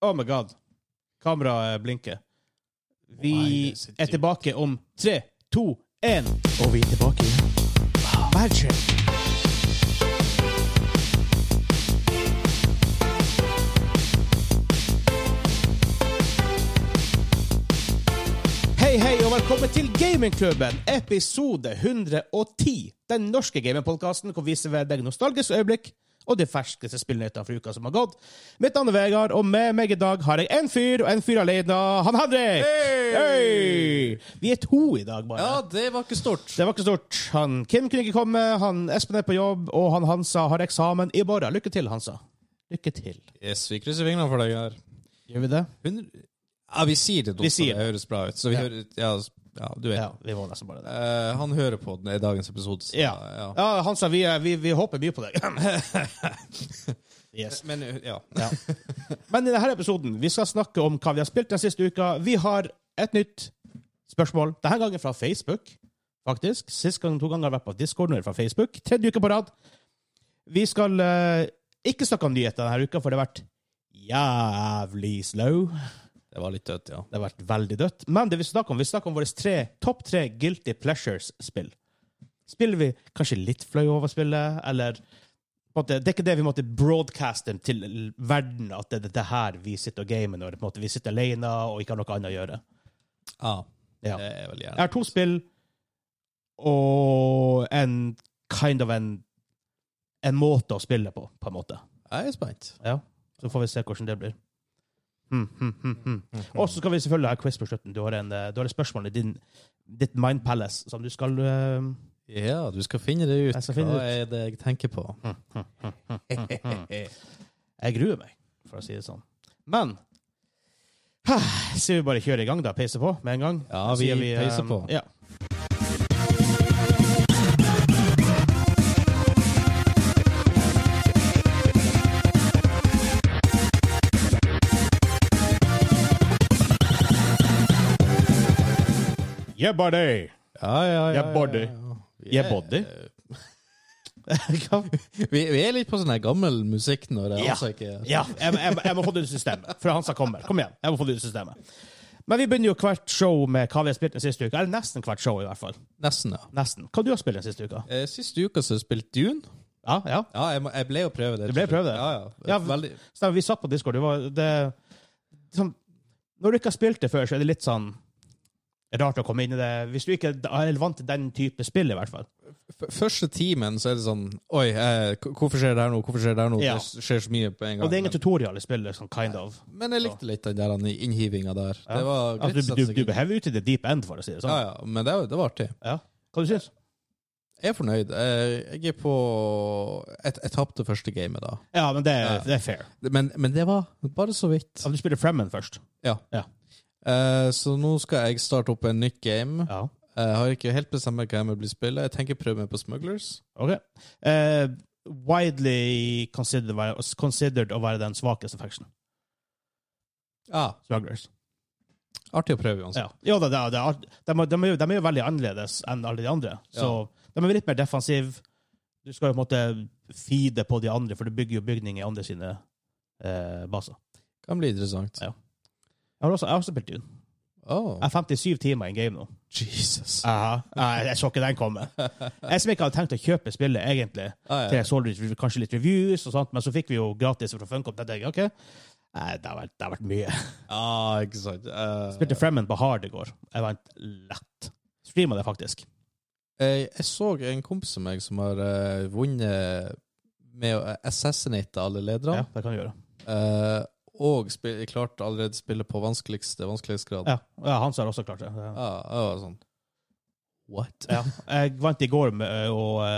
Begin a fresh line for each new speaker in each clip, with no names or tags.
Oh my god. Kameraet blinker.
Nei,
Vi
det er så
er
dypt.
tilbake om tre, to, én.
Og vi er tilbake igjen. Magic.
Hei, hei, og velkommen til Gamingklubben, episode 110. Den norske gamingpodkasten hvor vi serverer deg nostalgiske øyeblikk og de ferskeste spillnyhetene fra uka som har gått. Mitt navn er Vegard, og med meg i dag har jeg en fyr, og en fyr alene. Han Henrik!
Hei!
Hei! Vi er to i dag, bare.
Ja, det var ikke stort.
Det var ikke stort. Han Kim kunne ikke komme, han Espen er på jobb, og han Hansa har eksamen i morgen. Lykke til, Hansa. Lykke til.
Yes, vi krysser fingrene for deg her.
Gjør vi det?
Hundre- Ja, vi sier det,
Vi sier
det. høres bra ut. Så vi
Ja.
hører Ja, s- ja du vet.
Ja, vi må nesten bare det.
Eh, han hører på den i dagens episode. så-
Ja.
ja.
ja Hansa, vi, er- vi, vi håper mye på deg. yes.
Men eh, ja.
Ja. Men i denne episoden vi skal snakke om hva vi har spilt den siste uka. Vi har et nytt spørsmål. Denne gangen fra Facebook, faktisk. Sist gang to ganger har jeg vært på Discord, nå er det fra Facebook. Tredje uke på rad. Vi skal eh, ikke snakke om nyheter denne uka, for det har vært jævlig slow.
Det var litt dødt, ja.
Det har vært veldig dødt. Men det vi snakker om, vi snakker om våre tre, topp tre Guilty Pleasures-spill. Spiller vi kanskje litt fløy over spillet, eller på en måte, Det er ikke det vi måtte broadcaste til l- verden, at det er dette her vi sitter og gamer når på en måte, vi sitter alene og ikke har noe annet å gjøre.
Ja,
Ja.
det er veldig
Jeg
gjerne.
har to spill og en kind of en, en måte å spille på, på en måte.
Jeg er spent.
Ja. Så får vi se hvordan det blir. Mm, mm, mm, mm. Og så skal vi selvfølgelig ha quiz på slutten. Du har, en, eh, du har et spørsmål i din, ditt Mind Palace som du skal eh,
Ja, du skal finne det ut. Mm.
Jeg skal finne
Hva
det
er det jeg tenker på?
Jeg gruer meg, for å si det sånn. Men så vi bare kjører i gang, da. Peiser på med en gang.
Ja,
Så
vi
sier eh,
peiser på.
Ja. Yeah, buddy!
Ja, ja, ja.
Jeg body.
Vi
Jeg
er-
body.
Vi, vi er litt på sånn her gammel musikk når jeg
Ja.
altså ikke
Ja, jeg, jeg, jeg må få det ut i systemet. For han som kommer. Kom igjen. jeg må få det ut i systemet. Men vi begynner jo hvert show med hva vi har spilt den siste uka. Eller nesten hvert show, i hvert fall.
Nesten, ja.
Nesten. Hva du har spilt den siste uka?
Eh, Siste uka så spilte Dune.
Ja, ja.
Ja, jeg, må- jeg ble å prøve det.
Du ble å prøve det?
Ja, ja.
Ja,
Veldig,
Stemmer, vi satt på Discord. Det var, det, sånn, når du ikke har spilt det før, så er det litt sånn rart å komme inn i det. Hvis du ikke er vant til den type spill, i hvert fall.
f- første timen så er det sånn Oi, eh, k- hvorfor skjer det her nå? Hvorfor skjer det her nå?
Ja.
Det skjer så mye på en gang.
Og det er ingen tutorial i spillet, sånn kind of.
men, men jeg likte litt den der innhivinga der. Det var greit.
Altså, du, du,
satsing.
du behøver ut i the deep end, for å si det
ja,
sånn.
ja, men det, var- det var artig.
Ja. Hva du syns du?
Jeg er fornøyd. Eh, Jeg er på Jeg, jeg tapte første gamet, da.
Ja, men det, er-
Ja.
det er fair.
Men, men det var bare så vidt.
Ja, Du spiller Fremmen først.
Eh, Så nå skal jeg starte opp en nytt game.
Ja.
Jeg har ikke helt bestemt meg hva jeg vil spille. Jeg tenker prøve meg på Smugglers.
Ok. Eh, widely considered, å være- considered å være den svakeste faction.
Ja,
Smugglers.
Artig å prøve uansett.
Ja. Jo, da, da, da, de, er- de, er jo, de er jo veldig annerledes enn alle de andre. Så de er litt mer defensive. Du skal jo på en måte feede på de andre, for du bygger jo bygninger i andre sine eh, baser.
Kan bli interessant.
Ja. Jeg har også, jeg har også spilt Dune.
Oh,
Jeg er 57 timer i en game nå.
Jesus.
Aha. Nei, Jeg så ikke den komme. Jeg som ikke hadde tenkt å kjøpe spillet, egentlig.
Ah,
til
ja.
jeg så litt, kanskje litt reviews, og sånt, men så fikk vi jo gratis fra Funcom. Da tenkte jeg, ok, Nei, det har vært, det har vært mye.
ah, ikke sant. Eh,
Spilte Fremmen på hard i går. Jeg vant lett. Streama det, faktisk.
jeg, eh, jeg så en kompis av meg som har eh, vunnet med å assassinate alle
Ja,
lederne,
det kan du gjøre.
eh, og spil, klarte allerede å spille på vanskeligste vanskelighetsgrad.
Ja, ja Hans har også klart det. Ja.
Ah, jeg var sånn What?
Ja. Jeg vant i går med ø, å ø,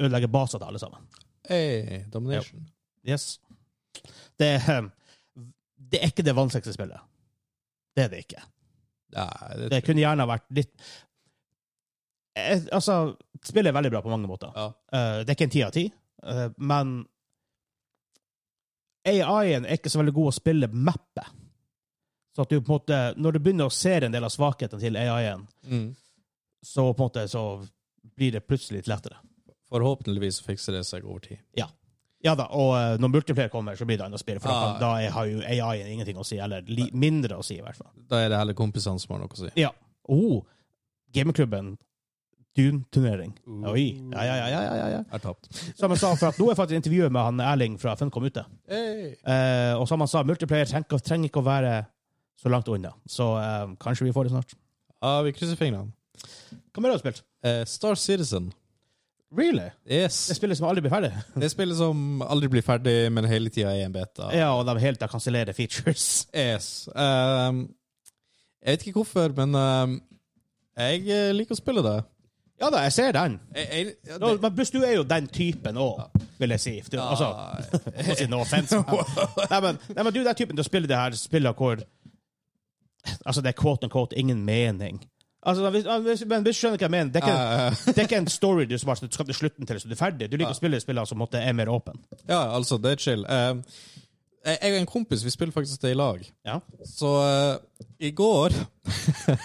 ødelegge baser til alle sammen.
Hey, domination.
Yes. Det, er, ø, det er ikke det vanskeligste spillet. Det er det ikke.
Nei, det,
Det kunne gjerne vært litt Eh, Altså, spillet er veldig bra på mange måter.
ja.
Eh, det er ikke en ti av ti, eh, men AI-en er ikke så veldig god å spille mappet. Så at du på en måte, når du begynner å se en del av svakhetene til AI-en,
Mm.
så på en måte så blir det plutselig litt lettere.
Forhåpentligvis fikser det seg over tid.
Ja. Ja da, og eh, når multiplayer kommer, så blir det annet spill. For da,
Ah.
kan, da er- har jo AI-en ingenting å si, eller li, mindre å si, i hvert fall.
Da er det heller kompisene som har noe å si.
Ja. Oh, gamingklubben. Dune-turnering. Oi. Ja, ja, ja, ja, ja, ja, ja.
Jeg har tapt.
Som jeg sa, for at nå er faktisk intervjuet med han Erling fra Funcom ute.
Hey.
Eh, og som han sa, multiplayer trenger, trenger ikke å være så langt unna. Så eh, kanskje vi får det snart.
Ja, Ah, vi krysser fingrene.
Hva mer har du spilt?
Eh, Star Citizen.
Really? Det
Yes.
spillet som aldri blir ferdig?
Det spillet som aldri blir ferdig, men hele tida er en beta.
Ja, og de helt der kansellerer features.
Yes. Ehm, jeg vet ikke hvorfor, men ehm, jeg eh, liker å spille det.
Ja da, jeg ser den.
Jeg, jeg, ja,
Nå,
det
men Buss, du er jo den typen òg, vil jeg si. Du, altså,
Ah.
jeg må si no offense. Nei, men, nei, men du er den typen til å spille det her spillet hvor Altså, det er quote and quote ingen mening. Altså, hvis, ja, hvis, men hvis du skjønner hva jeg mener, det er ikke,
Ja, ja, ja.
det er ikke en story du som har- du skal til slutten til, så du er ferdig. Du liker å spille spillene som måtte er mer åpen.
ja, altså, det er chill. Ehm, jeg, jeg og en kompis vi spiller faktisk det i lag.
Ja.
Så eh, i går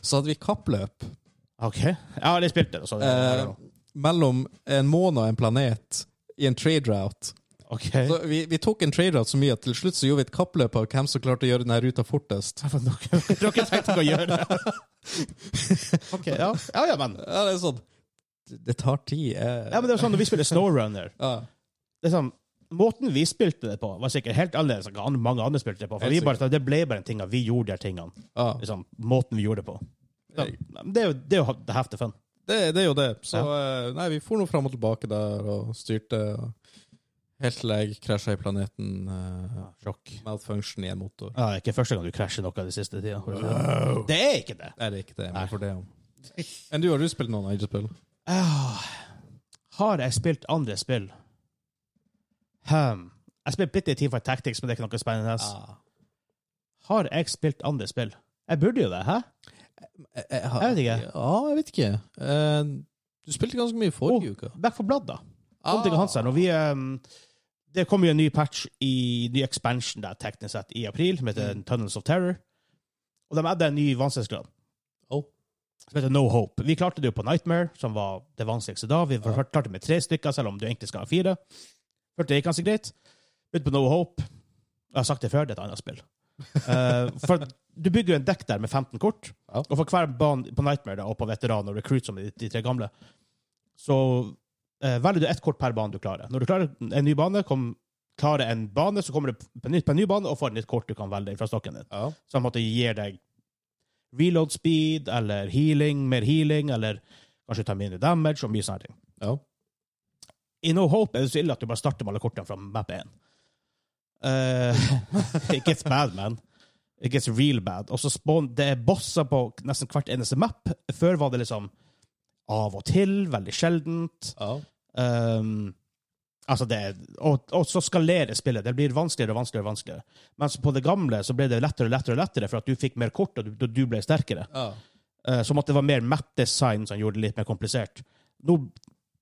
så hadde vi kappløp
OK. Jeg har aldri spilt det. Så det
eh, mellom en måne og en planet i en trade route.
OK.
Så vi, vi tok en trade route så mye at til slutt så gjorde vi et kappløp av hvem som klarte å gjøre denne ruta fortest.
Dere dere har ikke tenkt dere å gjøre det? OK, ja. Ja, ja, men.
Ja, det er sånn Det det tar tid. eh.
Ja, men det er jo sånn når vi spiller Snowrunner
Ja.
det er sånn, Måten vi spilte det på, var sikkert helt annerledes enn hva an- mange andre spilte det på. For
Helt
vi bare, sånn, det ble bare en ting at vi gjorde de her tingene.
Ja.
Liksom, måten vi gjorde det på. Så, det er jo det er jo the half the fun.
Det, det er jo det. Så eh, nei, vi for nå fram og tilbake der og styrte. Og helt til jeg krasja i planeten. eh,
Sjokk.
malfunction i en motor.
Ja, det er ikke første gang du krasjer noe den siste tida.
Wow.
Det er ikke det!
Nei, det er ikke det. Men for det om. Enn du, har du spilt noen andre spill?
Ah, har jeg spilt andre spill? Hmm. Jeg spilte bitte i Team Fight Tactics, men det er ikke noe spennende.
Ah.
Har jeg spilt andre spill? Jeg burde jo det, hæ?
Jeg, jeg, har-
Jeg vet ikke.
Ja, jeg vet ikke. Eh, du spilte ganske mye forrige uke. Ah.
Back for Blood, da. Oh. Kom til Hansen, og vi ehm, Det kommer jo en ny patch i ny expansion der, teknisk sett, i april, som heter
Mm.
Tunnels of Terror. Og de hadde en ny vanskelighetsgrad,
Oh.
som heter No Hope. Vi klarte det jo på Nightmare, som var det vanskeligste da. Vi
Ja.
klarte det med tre stykker, selv om du egentlig skal ha fire. Følte det gikk ganske greit. Ut på No Hope. Jeg har sagt det før, det er et annet spill. Eh, for du bygger jo en dekk der med 15 kort,
Ja.
og for hver bane på Nightmare da, og på Veteran og Recruit, som er de, de tre gamle, så eh, velger du ett kort per bane du klarer. Når du klarer en ny bane, kom, klarer en bane, så kommer du på en, på en ny bane og får et nytt kort du kan velge fra stokken din.
Ja.
Så på en måte gir deg reload speed, eller healing, mer healing, eller kanskje ta mindre damage, og mye sånne ting.
ja.
I No Hope er det så ille at du bare starter med alle kortene fra map 1. Eh, it gets bad, man. It gets real bad. Og så spawn, det er bosser på nesten hvert eneste map. Før var det liksom av og til, veldig sjeldent.
ja.
Um, altså det, er- og, og så skalerer spillet. Det blir vanskeligere og vanskeligere. og vanskeligere. Mens på det gamle så ble det lettere og lettere, og lettere for at du fikk mer kort, og du, du ble sterkere.
ja.
Eh, Som at det var mer map-design som gjorde det litt mer komplisert. Nå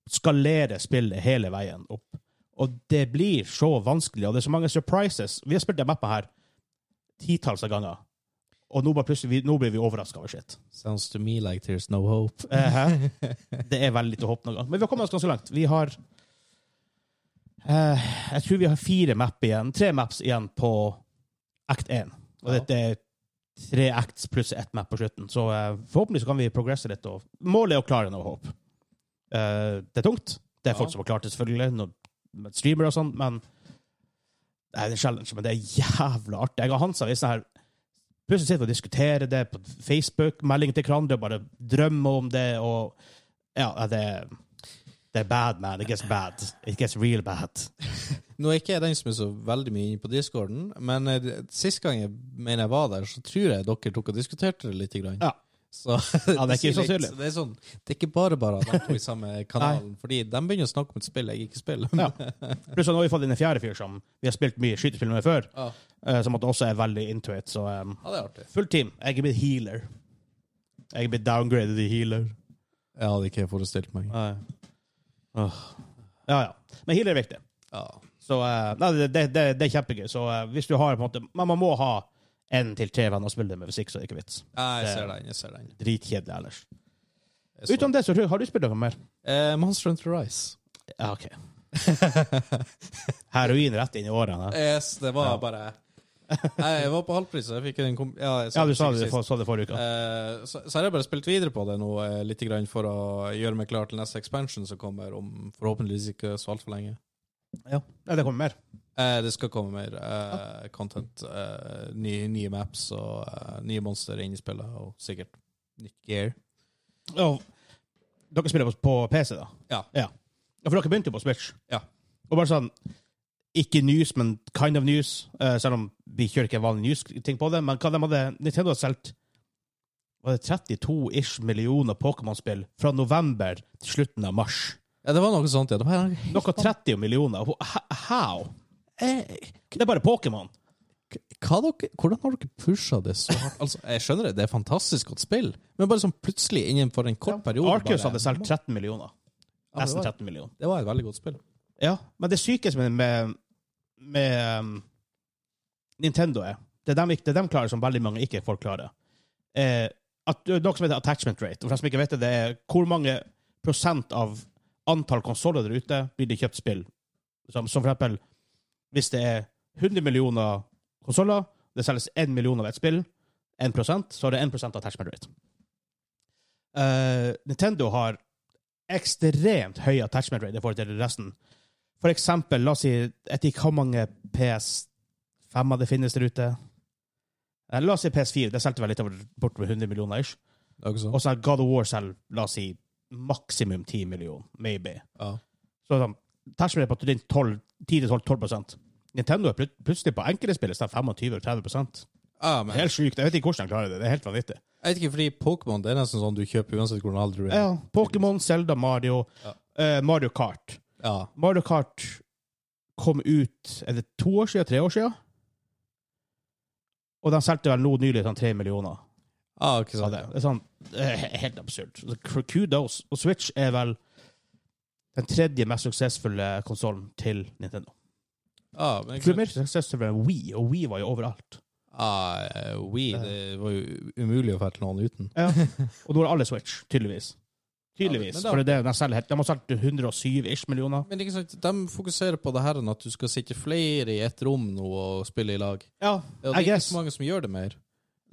skalerer spillet hele veien opp. Og det blir så vanskelig, og det er så mange surprises. Vi har spilt den mappen her titalls av ganger, og nå, bare plutselig, vi- nå blir vi overraska over shit.
Sounds to me like there's no hope.
Eh, hæ? det er veldig lite håp noen gang. Men vi har kommet oss ganske langt. Vi har eh, Jeg tror vi har fire map igjen, tre maps igjen på act 1. Og
Ja.
dette er tre acts pluss ett map på slutten. Så eh, forhåpentlig så kan vi progresse litt. Og målet er å klare noe håp. Eh, det er tungt. Det er
Ja.
folk som har klart det, selvfølgelig. Noen med streamer og sånn. Men det er en challenge. Men det er jævla artig. Jeg og Hansa vi er sånn her Plutselig sitter vi og diskuterer det på Facebook, meldinger til hverandre, bare drømmer om det. og Ja, det er, det er bad, man. It gets bad. It gets real bad.
Nå er ikke jeg den som er så veldig mye inne på discorden, men eh, det- sist gang jeg mener jeg var der, så tror jeg dere tok og diskuterte det lite grann.
Ja.
Så
Ja, det er ikke
sier litt.
usannsynlig.
Det er, sånn, det er ikke bare bare at de to i samme kanalen, fordi de begynner å snakke om et spill jeg ikke spiller.
Ja. Pluss at nå har vi fått inn en fjerde fyr som vi har spilt mye skytespill med før,
Ja.
eh, som at også er veldig into it. Så um,
Ja, det er artig.
full team. Jeg er blitt healer. Jeg er blitt downgraded i healer.
Jeg hadde ikke forestilt meg.
Åh. Ja, ja. Men healer er viktig.
Ja.
Så eh, nei, det, det, det, det er kjempegøy. Så eh, hvis du har på en måte Men man må ha én til tre venner å spille det med, hvis ikke så er det ikke vits.
Jeg
Det-
ser den, jeg ser den.
Dritkjedelig ellers.
Jeg så-
Utenom det, så tror jeg- har du spilt noe mer?
eh, Monster Hunter Rise.
Ja, OK. Heroin rett inn i årene.
Yes, det var bare Nei, Jeg var på halvpris, så jeg fikk en kom... Ja, jeg
Ja, du sa det,
sist.
for- sa det forrige uke.
Eh, så, så har jeg bare spilt videre på det nå, eh, litt grann for å gjøre meg klar til neste expansion som kommer om forhåpentligvis ikke så altfor lenge.
Nei, det kommer mer.
Eh, det skal komme mer eh, content. eh, nye, nye maps og eh, nye monstre inn i spillet, og sikkert nytt gear.
Ja. Dere spiller på, på PC, da?
Ja.
Ja, For dere begynte jo på Switch.
Ja.
Og bare sånn Ikke news, men kind of news. eh, selv om vi kjører ikke vanlig news-ting på det. Men hva de hadde Nintendo hadde solgt var det 32-ish millioner Pokémon-spill fra november til slutten av mars.
Ja, det var noe sånt, ja. Det var helt
Noe 30 millioner. H- How?
eh,
Det er bare Pokémon.
hva dere, hvordan har dere pusha det så hardt? Altså, jeg skjønner det, det er fantastisk godt spill, men bare sånn plutselig innenfor en kort periode
Arcus
bare-
hadde solgt 13 millioner.
Ja, det
Nesten
var-
13 millioner.
Det var et veldig godt spill.
Ja, men det sykeste med, med, med um, Nintendo er det de, ikke- det de klarer som veldig mange ikke folk klarer. Eh, at, det er noe som heter attachment rate. Og for dem som ikke vet det, det er hvor mange prosent av antall konsoller der ute blir det kjøpt spill. Som, som for eksempel hvis det er 100 millioner konsoller, det selges 1 million av et spill, 1 så er det 1 attachment rate. Eh, Nintendo har ekstremt høy attachment rate i forhold til resten. For eksempel, la oss si etter hvor mange PS5 det finnes der ute. Eh, La oss si PS4. Det solgte vel litt over bortover 100 millioner. ish.
Det er ikke sånn.
Og så er God of War selv, la oss si, maksimum 10 millioner, maybe.
Ja.
Så sånn, terskelen er på rundt 12 10-12 Nintendo er plut- plutselig på enkelte spill i stedet 25-30
Ja, men,
Helt sjukt. Jeg vet ikke hvordan de klarer det. Det er helt vanvittig.
jeg vet ikke, fordi Pokémon det er nesten sånn du kjøper uansett hvordan alder du er.
Ja, Pokémon, Zelda, Mario,
Ja.
eh, Mario Kart.
Ja.
Mario Kart kom ut Er det to år siden? Tre år siden? Og de solgte vel nå nylig sånn tre millioner.
Ah, ikke
av
sant.
det. Det er sånn eh, helt absurd. Så Kudos. Og Switch er vel den tredje mest suksessfulle konsollen til Nintendo.
Ah, men,
Tror du mer suksessfull enn Wii, og Wii var jo overalt.
ah, eh, Wii, det var jo umulig å få til noen uten.
Og nå har alle Switch, tydeligvis. Tydeligvis.
Ja, men da-
for det er det de selger helt. De har solgt 107 ish millioner.
Men ikke sant, de fokuserer på det her enn at du skal sitte flere i ett rom nå og spille i lag.
Ja,
Og
I
det er ikke
guess.
så mange som gjør det mer.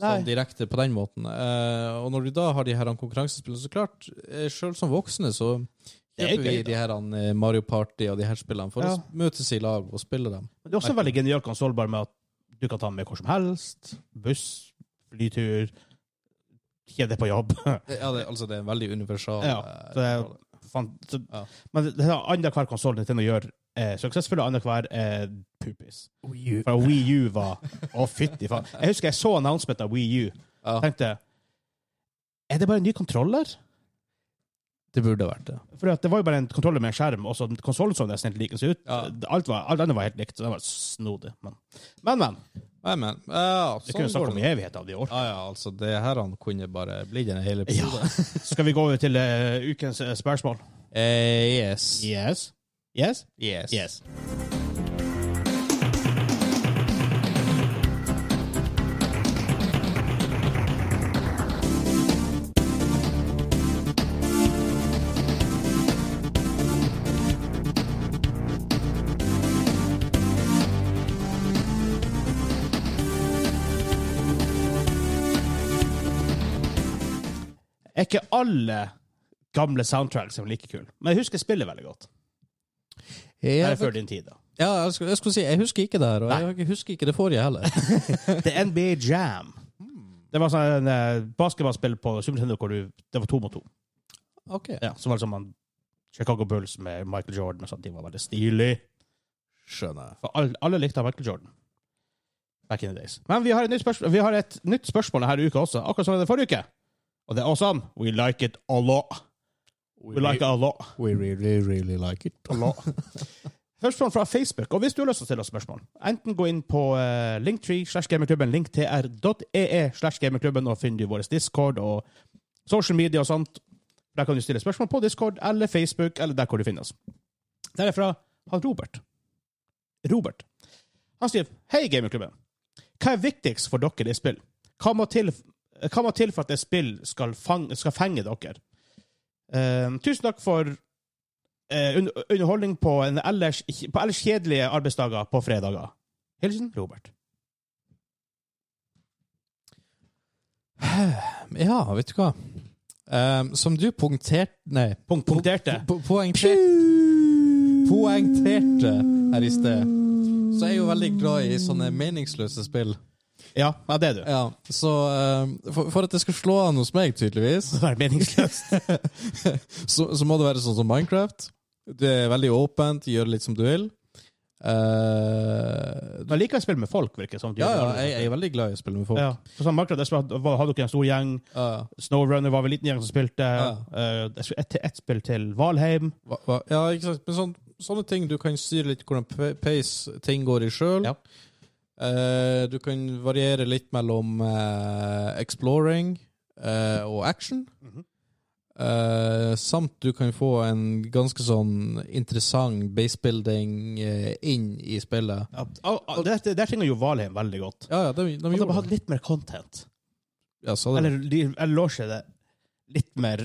Nei.
Sånn direkte på den måten. Eh, og når du da har de her konkurransespillene, så klart, eh, selv som voksne, så
Det er
kjøper vi
gøy, da.
de her eh, Mario Party og de her spillene for
Ja.
å s- møtes i lag og spille dem.
Men det er også en veldig genial konsoll, bare med at du kan ta den med hvor som helst. Buss, flytur, kjede på jobb.
Det, ja, det, altså, det er en veldig universal
Ja, så
eh,
det er- Fan, så,
Ja.
Men det er annenhver konsoll Nintendo gjør eh, suksessfull, og annenhver eh, pupis.
Wii U.
For Wii U var Å, fytti faen. Jeg husker jeg så announcement av Wii U.
Ja.
Tenkte Er det bare en ny kontroller?
Det burde vært det.
For at det var jo bare en kontroller med en skjerm, og så konsollen så nesten helt likens ut.
Ja.
Alt, var, alt annet var helt likt. Så det var snodig. Men, men. men
Nei, men ja,
vi kunne
sånn
snakke
går
om
det.
evigheter av de år.
Ja, ja, altså, det her han kunne bare blitt en hel
Ja.
episode.
Skal vi gå over til eh, ukens eh, spørsmål?
Eh, yes.
Yes. Yes?
Yes.
Yes. Er ikke alle gamle soundtracks som er like kule? Men jeg husker spillet veldig godt. Det
Ja,
er før din tid, da.
ja, jeg, skulle, jeg skulle si, jeg husker ikke det her, og jeg husker ikke det forrige heller.
Det er NBA Jam. Det var sånn en eh, basketballspill på Super Nintendo hvor du, det var to mot to.
Ok.
Ja, så var det som man Chicago Bulls med Michael Jordan og sånt. De var veldig stilige.
Skjønner.
For alle, alle likte Michael Jordan. Back in the days. Men vi har et nytt spørsmål, vi har et nytt spørsmål denne uka også, akkurat som det forrige uke. Og det er awesome. We like it a lot. We like it a lot.
We really, really like it.
Spørsmål fra Facebook. Og hvis du har lyst til å stille oss spørsmål, enten gå inn på eh, linktree slash gamingklubben, linktr.ee slash gamingklubben, og finn du vår Discord og social media og sånt. Der kan du stille spørsmål på Discord eller Facebook, eller der hvor du finner oss. Der er fra han Robert. Robert. Han skriver Hei, gamingklubben. Hva er viktigst for dere i spill? Hva må til, hva må til for at et spill skal, fang, skal fenge dere? Eh, tusen takk for eh, un- underholdning på, en ellers, på ellers kjedelige arbeidsdager på fredager. Hilsen Robert.
Ja, vet du hva? Ehm, som du punkterte Nei.
Punkt, punkterte.
Po poengterte Poengterte her i sted. Så jeg er jo veldig glad i sånne meningsløse spill.
Ja, ja, det er du.
Ja, så eh, for, for at det skal slå an hos meg, tydeligvis,
Det er meningsløst.
så, så må det være sånn som Minecraft. Det er veldig åpent, gjør litt som du vil. Eh,
Men jeg liker å spille med folk, virker det som.
ja, ja, jeg, jeg er veldig glad i å spille med folk.
Ja. For sånn, Minecraft, jeg spilte- var- hadde dere en stor gjeng.
Ja,
Snowrunner var vel en liten gjeng som spilte.
Ja.
Eh, jeg spilte ett et spill til Valheim.
hva- hva- ja ikke sant? Men sånn, sånne ting, du kan styre litt hvordan p- pace ting går i sjøl.
Ja.
Eh, du kan variere litt mellom eh, exploring eh, og action.
Mhm.
Eh, samt du kan få en ganske sånn interessant basebuilding eh, inn i spillet.
Ja, ah, ah, der, der trenger jo Valheim veldig godt.
Ja, ja, de, de
Hadde de
gjorde
hatt
det.
litt mer content,
Ja, så hadde de-
eller de- eller lå seg det litt mer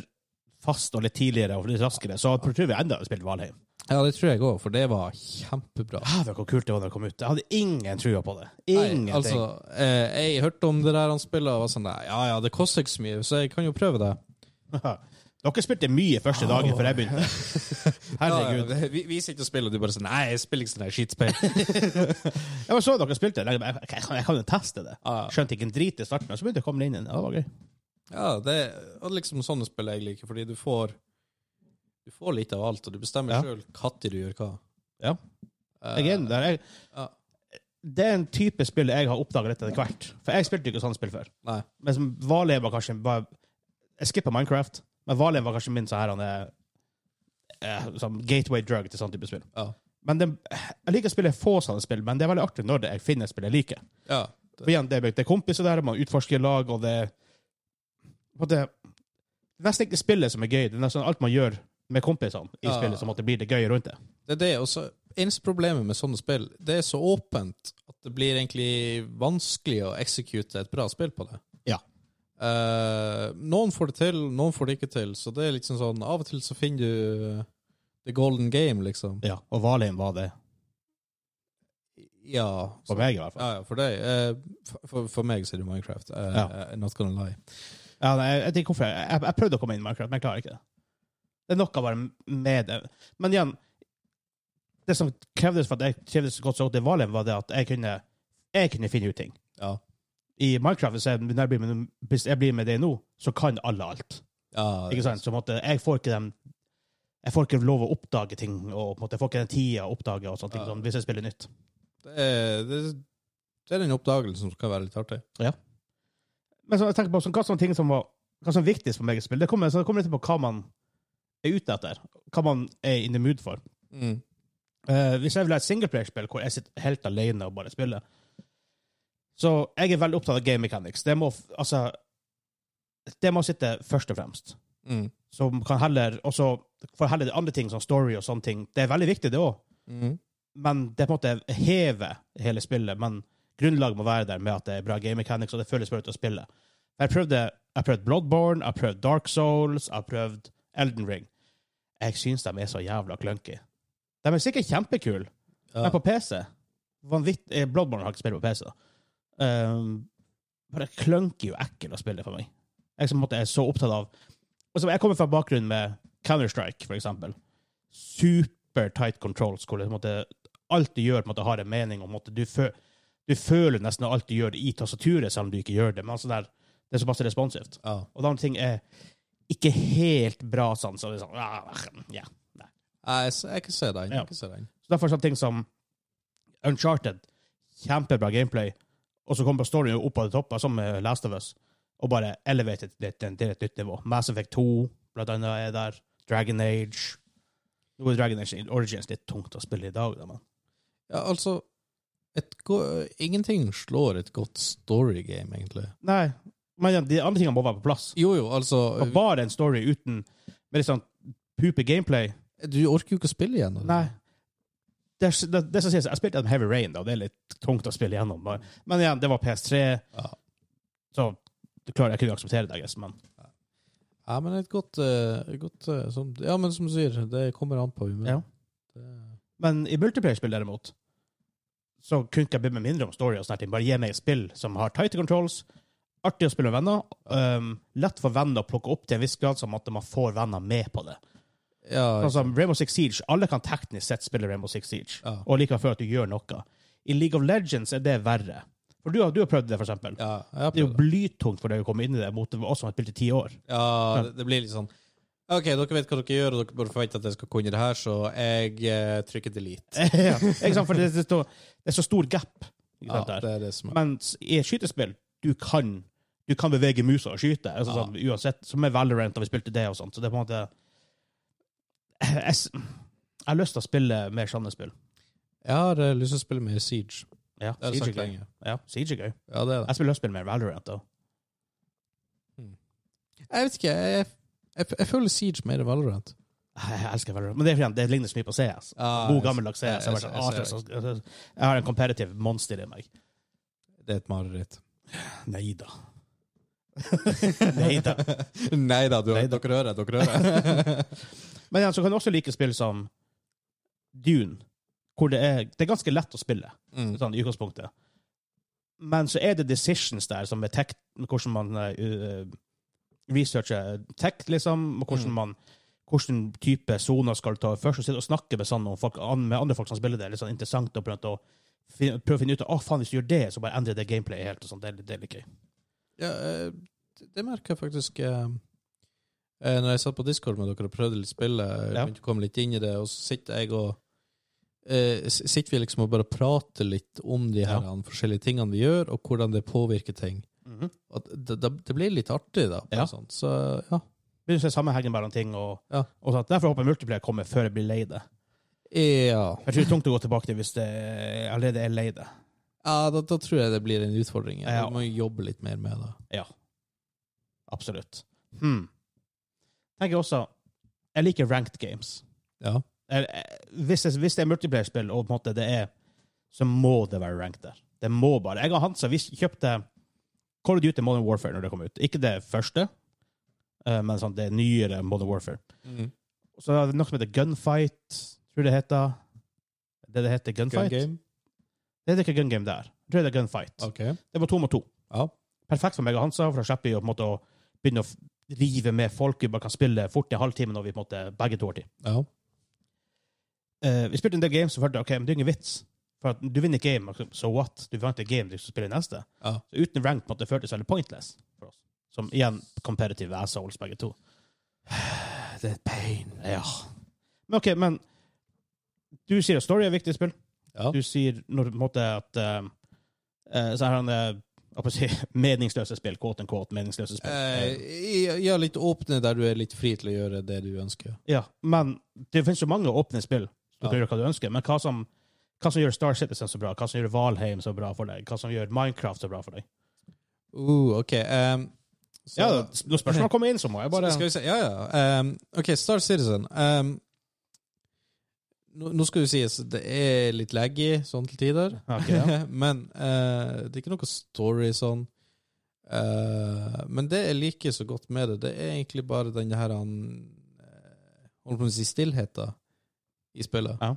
fast og litt tidligere og litt raskere, så tror jeg vi enda hadde spilt Valheim.
ja, det tror jeg òg, for det var kjempebra.
Hæver, hvor kult det var da det kom ut. Jeg hadde ingen trua på det. Ingenting.
Nei, altså, eh, jeg hørte om det der han spiller, og var sånn nei, Ja ja, det koster ikke så mye, så jeg kan jo prøve det.
Dere spilte mye første dagen før jeg begynte. Herregud.
Ja, ja, vi, vi sitter og spiller, og du bare sånn Nei, jeg spiller ikke sånn her skitspill.
Jeg bare så dere spilte det. Jeg, bare, jeg, kan- jeg kan jo teste det.
Ja, ja.
Skjønte ikke en drit i starten, men så begynte jeg å komme inn i den. Ja, det var gøy.
Ja, det er liksom sånne spill jeg liker, fordi du får Du får litt av alt, og du bestemmer
Ja.
selv sjøl når du gjør hva.
Ja.
Eh,
Jeg er enig der. Jeg,
Ja.
Det er en type spill jeg har oppdaga litt etter hvert. For jeg spilte jo ikke sånne spill før.
Nei.
Men som Valheim var kanskje bare Jeg skippa Minecraft, men Valheim var kanskje min sånn her han er eh, sånn gateway drug til sånn type spill.
Ja.
Men det, Jeg liker å spille få sånne spill, men det er veldig artig når det- jeg finner et spill jeg liker.
ja.
For igjen, det, er- det er kompiser der, man utforsker i lag, og det og det, det er nesten ikke spillet som er gøy. Det er nesten alt man gjør med kompisene i
Ja.
spillet, som at det blir det gøye rundt det.
Det er det. Og så eneste problemet med sånne spill, det er så åpent at det blir egentlig vanskelig å execute et bra spill på det.
Ja.
Eh, noen får det til, noen får det ikke til, så det er liksom sånn Av og til så finner du eh, the golden game, liksom.
ja. Og Valheim var det.
Ja.
For meg, i hvert fall.
Ja, ja, for deg. eh, for- For, for meg så er det Minecraft. eh,
Ja.
eh, not gonna lie.
Ja, nei, jeg, jeg, vet ikke hvorfor. jeg, jeg, jeg prøvde å komme inn i Minecraft, men jeg klarer ikke det. Det er noe bare med det. Men igjen, det som krevdes for at jeg trivdes så godt så godt i Valheim, var det at jeg kunne, jeg kunne finne ut ting.
Ja.
I Minecraft, hvis jeg, når jeg blir med, hvis jeg blir med det nå, så kan alle alt.
Ja,
Ikke sant? Så på en måte, jeg får ikke den jeg får ikke lov å oppdage ting, og på en måte, jeg får ikke den tida å oppdage og sånne ting,
Ja.
sånn, hvis jeg spiller nytt.
Det er, det, er- det er den oppdagelsen som kan være litt artig.
Men så, jeg tenker på sånn, hva som ting som var hva som er viktigst for meg i spill, det kommer, så det kommer litt an på hva man er ute etter. Hva man er in the mood for. Eh, hvis jeg vil ha et singleplayerspill hvor jeg sitter helt alene og bare spiller Så jeg er veldig opptatt av game mechanics. Det må, f- altså, det må sitte først og fremst.
Mm.
Så man kan heller, og så får heller det andre ting, som story og sånne ting. Det er veldig viktig, det òg,
Mm.
men det er på en måte hever hele spillet. Men grunnlaget må være der med at det er bra game mechanics, og det føles bra ut å spille. Jeg prøvde jeg har prøvd Bloodborne, jeg har prøvd Dark Souls, jeg har prøvd Elden Ring. Jeg syns de er så jævla clunky. De er sikkert kjempekule.
Ja.
Men på PC vanvitt, eh, Bloodborne har ikke spilt på PC. da. Um, bare klønker jo ekkel å spille for meg. Jeg som på en måte er så opptatt av Og så Jeg kommer fra bakgrunn med Counter-Strike, for eksempel. Super tight controls. Hvor det, på en måte, alt du gjør, på en måte, har en mening. Og, på en måte, du, fø du føler nesten alt du gjør, i tastaturet, selv om du ikke gjør det. Men altså, det, er, det er såpass responsivt.
Ja.
Og de andre ting er ikke helt bra sånn. Så det er sånn ah, ja.
Nei, Jeg, jeg kan se den.
Ja.
Jeg kan se den.
Så derfor sånne ting som Uncharted, kjempebra gameplay, og så kommer storyen opp av det toppen, som med Last of Us, og bare elevated det til til et nytt nivå. Mass Effect 2, blant annet, er der. Dragon Age. Nå er Dragon Age Origins litt tungt å spille i dag, da, men
Ja, altså et go Ingenting slår et godt storygame, egentlig.
Nei, men de andre tingene må være på plass.
Jo, jo, altså
Og bare en story uten med litt sånn pupe gameplay
Du orker jo ikke å spille igjen. eller?
Nei. Det, er- det, det som sies, jeg spilte en Heavy Rain, da, og det er litt tungt å spille gjennom. Men, men igjen, det var PS3,
Ja.
så du klarer jeg kunne akseptere det, jeg guess, men
Ja, men et godt, eh, godt eh, sånn- Ja, men som du sier, det kommer an på humøret.
Ja. Men i multiplayer-spill, derimot, så kunne ikke jeg bli med mindre om story og sånne ting. Bare gi meg et spill som har tighte controls, artig å spille med venner, um, lett for venner å plukke opp til en viss grad, som at man får venner med på det.
Ja,
Altså, Rainbow Six Siege, alle kan teknisk sett spille Rainbow Six Siege,
Ja.
og like før at du gjør noe. I League of Legends er det verre. For du har, du har prøvd det, for eksempel.
ja, jeg har
Det er
prøvd
jo
det.
blytungt for deg å komme inn i det, mot oss som har spilt i ti år.
Ja, det, det blir litt sånn OK, dere vet hva dere gjør, og dere bare forventer at jeg skal kunne det her, så jeg eh, trykker delete.
ja, ikke sant? For det, det, står- det er så stor gap. Ikke
Ja,
sant, der.
det er det som er
Mens i et skytespill, du kan, du kan bevege musa og skyte, altså,
Ja.
sånn, uansett, som er Valorant, og vi spilte det og sånt, så det er på en måte... Jeg, s- jeg har lyst til å spille mer sånne spill.
Jeg har eh, lyst til å spille mer Siege.
Ja,
Det har jeg
Siege
sagt
er gøy.
lenge.
Ja, Siege er gøy.
Ja, det er det.
Jeg spiller lyst til å spille mer Valorant, da.
Jeg vet ikke, jeg, jeg, jeg føler Siege mer Valorant.
Jeg elsker Valorant, men det, er fordi det ligner så mye på CS.
Ah,
God
jeg-
gammeldags CS. Jeg,
jeg-
bare sånn,
jeg-
ah,
jeg-
så- så- så- jeg har en competitive monster i meg.
Det er et mareritt.
Neida. Neida.
Nei da,
Neida.
dere hører, dere hører.
Men ja, så kan du også like spill som Dune, hvor det er, det er ganske lett å spille.
mm.
sånn, i utgangspunktet. Men så er det decisions der, som er tech, hvordan man eh, researcher tech, liksom, og hvordan
Mm.
man hvordan type soner skal du ta først, og sitte og snakke med, sånn, om folk, an- med andre folk som spiller det. Litt sånn interessant å prøve å, fin- prøve å finne ut av, å faen, hvis du gjør det, så bare endrer det gameplayet helt, og sånn, det er litt- det er litt gøy.
ja, eh, det- det merker jeg faktisk eh, eh, Når jeg satt på Discord med dere og prøvde litt spillet, jeg
Ja.
begynte å komme litt inn i det, og så sitter jeg og eh, s- Sitter vi liksom og bare prater litt om de her
Ja.
forskjellige tingene vi gjør, og hvordan det påvirker ting. At det, det, det blir litt artig, da.
Ja.
Ja. Sånt. Så ja.
Begynner å se sammenhengen mellom ting, og,
Ja.
og sånn. derfor håper jeg multiplayer kommer før jeg blir lei det.
Ja,
Jeg tror det er tungt å gå tilbake til hvis det allerede er lei det.
ja da, da tror jeg det blir en utfordring. Jeg
Ja.
må jobbe litt mer med det.
Absolutt. Hmm. Tenker jeg også, jeg liker ranked games.
Ja.
Eh, eh, hvis det, hvis det er multiplayer-spill, og på en måte det er, så må det være ranked der. Det må bare. Jeg og Hansa vi kjøpte Call of Duty Modern Warfare når det kom ut. Ikke det første, eh, men sånn, det nyere Modern Warfare. Så er det noe som heter Gunfight, tror jeg det heter. Det det heter
Gun
Gunfight?
game.
Det heter ikke Gun Game der. Jeg tror det er Gunfight.
OK.
Det var to mot to.
Ja.
Perfekt for meg og Hansa, for da slipper vi å, på en måte, å begynne å f- rive med folk. Vi bare kan spille fort i en halvtime når vi på en måte, begge to har tid.
Ja.
Eh, vi spilte en del games, og følte ok, men det er ingen vits. For at du vinner game, altså, so what? Du vant et game, du skal spille neste.
Ja.
Så uten rank måtte det føltes veldig pointless for oss. Som igjen competitive assholes, begge to.
Det er pain.
Ja. Men ok, men du sier at story er viktig i spill.
Ja.
Du sier når du på en måte at eh, eh, Så er han eh, hva skal jeg si, meningsløse spill, quote and quote, meningsløse spill.
Eh, ja, ja, litt åpne der du er litt fri til å gjøre det du ønsker.
Ja, men det finnes jo mange åpne spill. Du kan
Ja.
gjøre hva du ønsker, men hva som, hva som gjør Star Citizen så bra? Hva som gjør Valheim så bra for deg? Hva som gjør Minecraft så bra for deg?
Uh, ok. ehm, så-
Ja, Når spørsmålet kommer inn, så må jeg bare
Skal vi se, ja, ja. Ehm, ok, Star Citizen. ehm, nå, nå skal det sies det er litt laggy sånn til tider,
Ok, ja.
men eh, det er ikke noe story sånn. Eh, men det jeg liker så godt med det, det er egentlig bare den her han eh, Holdt på å si stillheten i spillet.
Ja.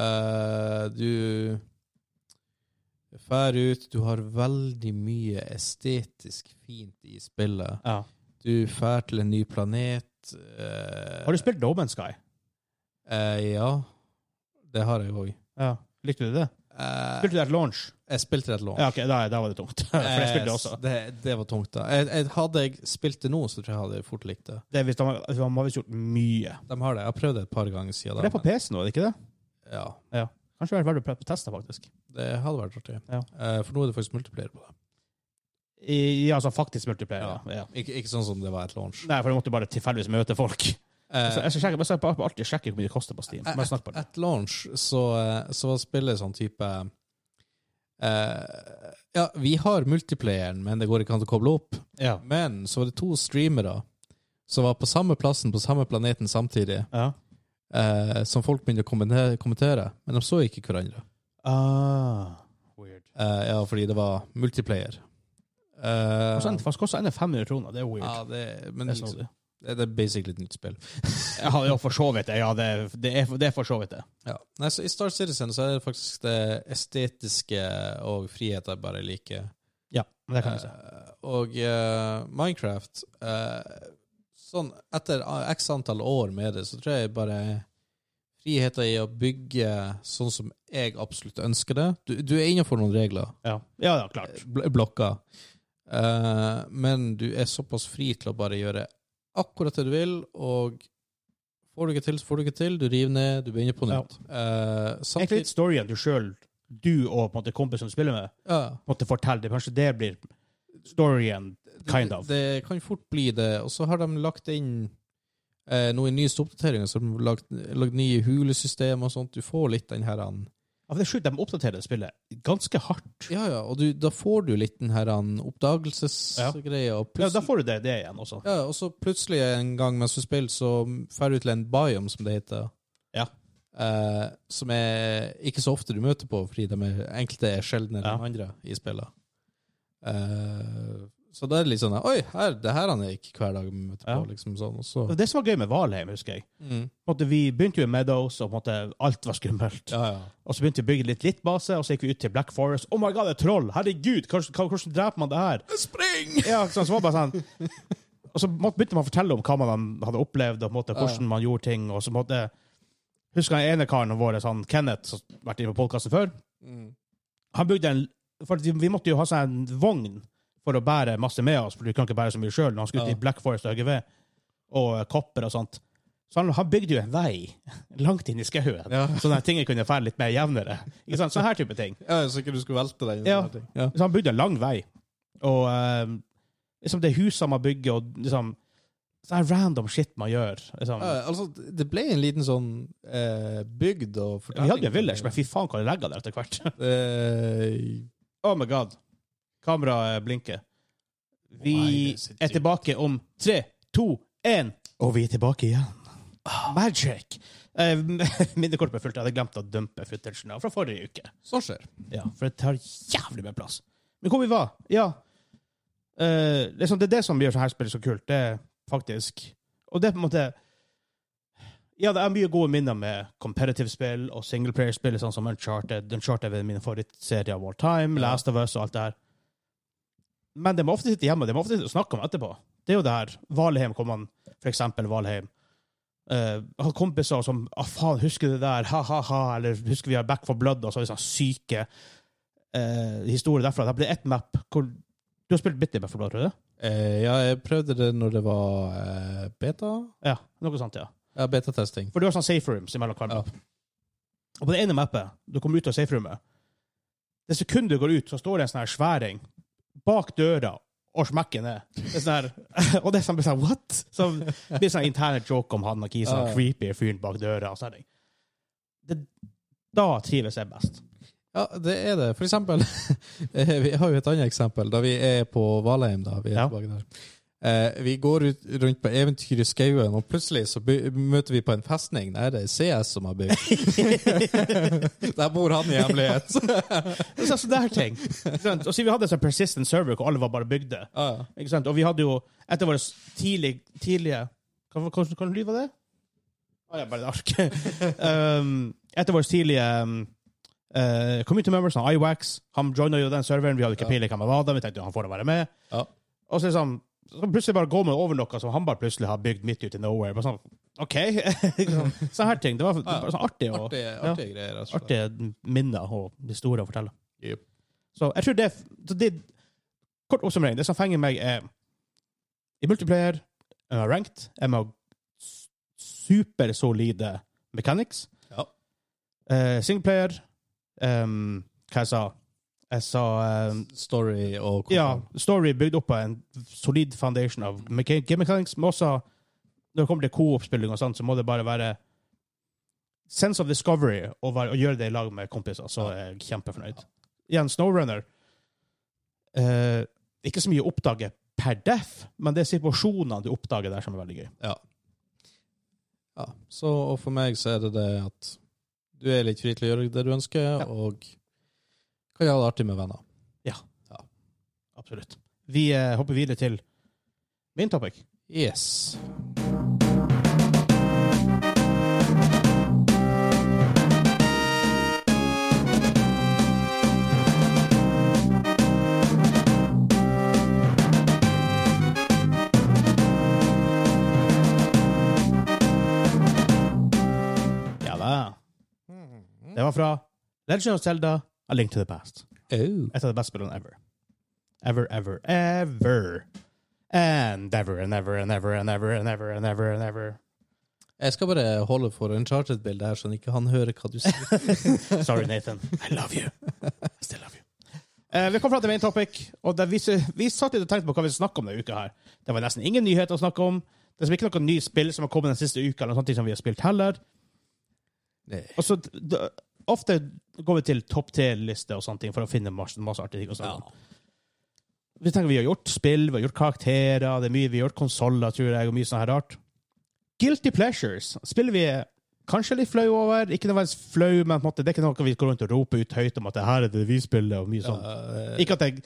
Eh, du Fær ut, du har veldig mye estetisk fint i spillet.
ja.
Du fær til en ny planet. eh,
Har du spilt No Man's Sky?
eh, ja. Det har jeg òg.
Ja. Likte du det?
Eh,
Spilte du det etter launch?
jeg spilte rett lån.
Ja, ok, da, da var det tungt. For jeg spilte det også.
det, det var tungt, da. Jeg, jeg, hadde jeg spilt det nå, så tror jeg hadde jeg fort likt det.
Det visste man, man har visst gjort mye.
De har det. Jeg har prøvd det et par ganger siden.
For det er på PC nå, er det ikke det?
men- ja,
Kanskje det er verdt å prøve å teste, faktisk.
det hadde vært artig.
Ja.
Eh, for nå er det faktisk multiplier på det.
I, ja, altså faktisk multiplayer. Ja. Ja.
Ikke, ikke sånn som det var et launch.
Nei, for du måtte bare tilfeldigvis møte folk.
Eh,
Så jeg skal sjekke, bare se på- på alltid sjekke hvor mye det koster på Steam. Bare snakk på det.
At launch så, eh, så spiller sånn type eh, Ja, vi har multiplayeren, men det går ikke an å koble opp.
Ja.
Men så var det to streamere som var på samme plassen på samme planeten samtidig,
ja.
eh, som folk begynte å kommenter- kommentere, men de så ikke hverandre.
Ah, weird.
Eh, ja, fordi det var multiplayer. Eh,
Koster en- faktisk koster en 500 kroner. Det er weird.
ja, det, men
det er
liksom,
snodig.
Det det er basically et nytt spill.
Ja, det er for så vidt det. Ja, det, er- det, er, det er for så vidt det.
Ja. Nei, så I Star Citizen så er det faktisk det estetiske og frihet jeg bare liker.
Ja, det kan vi si.
Eh, og eh, Minecraft eh, Sånn etter eh, x antall år med det, så tror jeg bare friheten i å bygge sånn som jeg absolutt ønsker det Du, du er innenfor noen regler,
Ja, ja, ja klart.
bl blokker, Eh, men du er såpass fri til å bare gjøre akkurat det du vil, og får du ikke til, så får du ikke til. Du river ned, du begynner på nytt. Eh,
Egentlig
samtidig
litt storyen du sjøl, du og på en måte kompisen du spiller med,
ja.
på en måte forteller det. Kanskje det blir storyen. Kind of.
Det, det kan fort bli det. Og så har de lagt inn eh, noen nyeste oppdateringer, så har de lagt, lagt nye hulesystemer og sånt. Du får litt den her an.
Ja, for det er sjukt, de oppdaterer spillet ganske hardt.
Ja, ja, og du, da får du litt den her an oppdagelsesgreia. Og,
Ja, da
plutselig-
får du det, det igjen også.
ja, og så plutselig en gang mens du spiller, så drar du til en biome, som det heter.
Ja.
Eh, som er ikke så ofte du møter på, fordi de er, enkelte er sjeldnere
Ja.
enn andre i spillet. Eh, så da er det litt sånn Oi, her, det her han er ikke hver dag vi møter
Ja.
på, liksom sånn. Og så,
Det var Det som var gøy med Valheim, husker jeg
Mm.
på en måte, Vi begynte jo i Meadows, og på en måte, alt var skummelt.
Ja, ja.
Og så begynte vi å bygge litt littbase, og så gikk vi ut til Black Forest. Oh my god, det er troll! Herregud, hvordan, hvordan dreper man det her?
Spring!
Ja, ikke sant, så var det bare sånn. Og så måtte- begynte man å fortelle om hva man hadde opplevd, og på en måte,
Ja.
hvordan man gjorde ting. og så måtte, Husker jeg den ene karen vår, sånn, Kenneth, som har vært inne på podkasten før.
Mm.
Han bygde en for vi- Vi måtte jo ha sånn en vogn for å bære masse med oss, for du kan ikke bære så mye sjøl når han skulle ut
Ja.
i Black Forest og HGV, og eh, kopper og sånt. Så han, han bygde jo en vei langt inn i skauen,
Ja.
sånn at tingene kunne fære litt mer jevnere. Ikke sant? Sånn her type ting.
Ja, så ikke du skulle velte deg. sånn
Ja. Så han bygde en lang vei. Og eh, liksom det husene man bygger, og liksom sånn random shit man gjør. Liksom.
altså, det ble en liten sånn eh, bygd og
Vi hadde jo en village, men fy faen hva det legger der etter hvert.
Eh,
oh my god. Kameraet blinker. Vi
Nei, det er så
er tilbake om tre, to, én. Og vi er tilbake igjen. Magic! Eh, Minnekortet ble fullt. Jeg hadde glemt å dumpe footagen fra forrige uke.
sånn skjer.
Ja, for det tar jævlig mye plass. Men hvor vi var? Ja. Eh, liksom, det er det som gjør sånne her spill så kult. Det er faktisk Og det er på en måte Ja, det er mye gode minner med competitive spill og singleplayer-spill, sånn som Uncharted. Uncharted er min favorittserier av all time,
Ja.
Last of Us og alt det her. Men det må ofte sitte hjemme, og det må ofte sitte og snakke om etterpå. Det er jo det her. Valheim kom han, for eksempel Valheim. Eh, har kompiser som ah, 'faen, husker du det der?' ha-ha-ha, eller 'husker vi har Back for Blood', og så er vi sånn syke eh, historie derfra. Det ble ett map hvor Du har spilt bitte i Back for Blood, tror du? det?
Eh, ja, jeg prøvde det når det var eh, beta.
Ja, noe sånt, ja.
Ja, betatesting.
For du har sånn safe rooms imellom hver
Ja.
map. Og på det ene mappet, du kommer ut av safe roomet Det sekundet du går ut, så står det en sånn her sværing bak døra og smekker ned. Det er sånn her, og det er sånn, blir sånn what? Så det blir sånn interne joke om han og Kisa,
Ja, ja.
creepy fyren bak døra. og sånne ting. Det, da trives jeg best.
Ja, det er det. For eksempel eh, Vi har jo et annet eksempel, da vi er på Valheim. da, Vi er
Ja.
tilbake der. Eh, vi går ut, rundt på eventyr i skauen, og plutselig så by møter vi på en festning. Nei, det er CS som har bygd. der bor han i hemmelighet.
Det er sånn sånne her ting. Ikke sant? Og siden vi hadde en sånn persistent server hvor alle var bare bygde.
Ja, ja.
Ikke sant? Og vi hadde jo etter våre tidlig, tidlige Hva hva- hva- hva lyd var det? Ah, jeg er bare et ark. um, etter våre tidlige um, uh, community members, han iWax, han joina jo den serveren. Vi hadde ikke
Ja.
peiling på hvem han var, da. vi tenkte jo, han får da være med.
Ja.
Og så liksom så plutselig bare går man over noe som han bare plutselig har bygd midt ute i nowhere. Bare sånn, OK? Ikke sant? Sånne her ting. Det var, det var sånn artig, og,
Artige, artige greier, rett og slett.
artige minner og historier å fortelle.
Jep.
Så jeg tror det, så det Kort oppsummering. Det som fenger meg, er I multiplayer jeg er ranked. Jeg må ha s- supersolide mechanics.
Ja.
Eh, singleplayer um, Hva jeg sa Jeg sa um,
Story og kontroll.
Ja, story bygd opp av en solid foundation av mecha- game mechanics, men også når det kommer til co-op-spilling og sånt, så må det bare være sense of discovery å, være, å gjøre det i lag med kompiser, så er jeg kjempefornøyd. Igjen, Snowrunner eh, Ikke så mye å oppdage per def, men det er situasjonene du oppdager der, som er veldig gøy.
Ja. Så, og for meg så er det det at du er litt fri til å gjøre det du ønsker,
Ja.
og kan ha det artig med venner.
Absolutt. Vi eh, hopper videre til min topic.
Yes.
Det var fra Legend of Zelda A Link to the Past. Et av de beste spillene ever. Ever, ever, ever. And ever and ever and ever and ever and ever and ever and ever.
Jeg skal bare holde for Uncharted-bildet her, sånn ikke han hører hva du sier.
Sorry, Nathan. I love you. I still love you. Eh, vi kom fram til main topic, og det vi, vi satt litt og tenkte på hva vi skulle snakke om denne uka. her. Det var nesten ingen nyheter å snakke om. Det er liksom ikke noe nye spill som har kommet den siste uka, eller noe sånt som vi har spilt heller.
Nei.
Og så d- Ofte går vi til topp tre-liste og sånne ting for å finne masse, masse artige ting. å snakke om.
Sånn.
Vi tenker vi har gjort spill, vi har gjort karakterer, det er mye vi har gjort konsoller, tror jeg, og mye sånn her rart. Guilty Pleasures. Spiller vi er kanskje litt flau over, ikke nødvendigvis flau, men på en måte, det er ikke noe vi går rundt og roper ut høyt om at det her er det vi spiller, og mye sånn.
Eh,
Ikke at jeg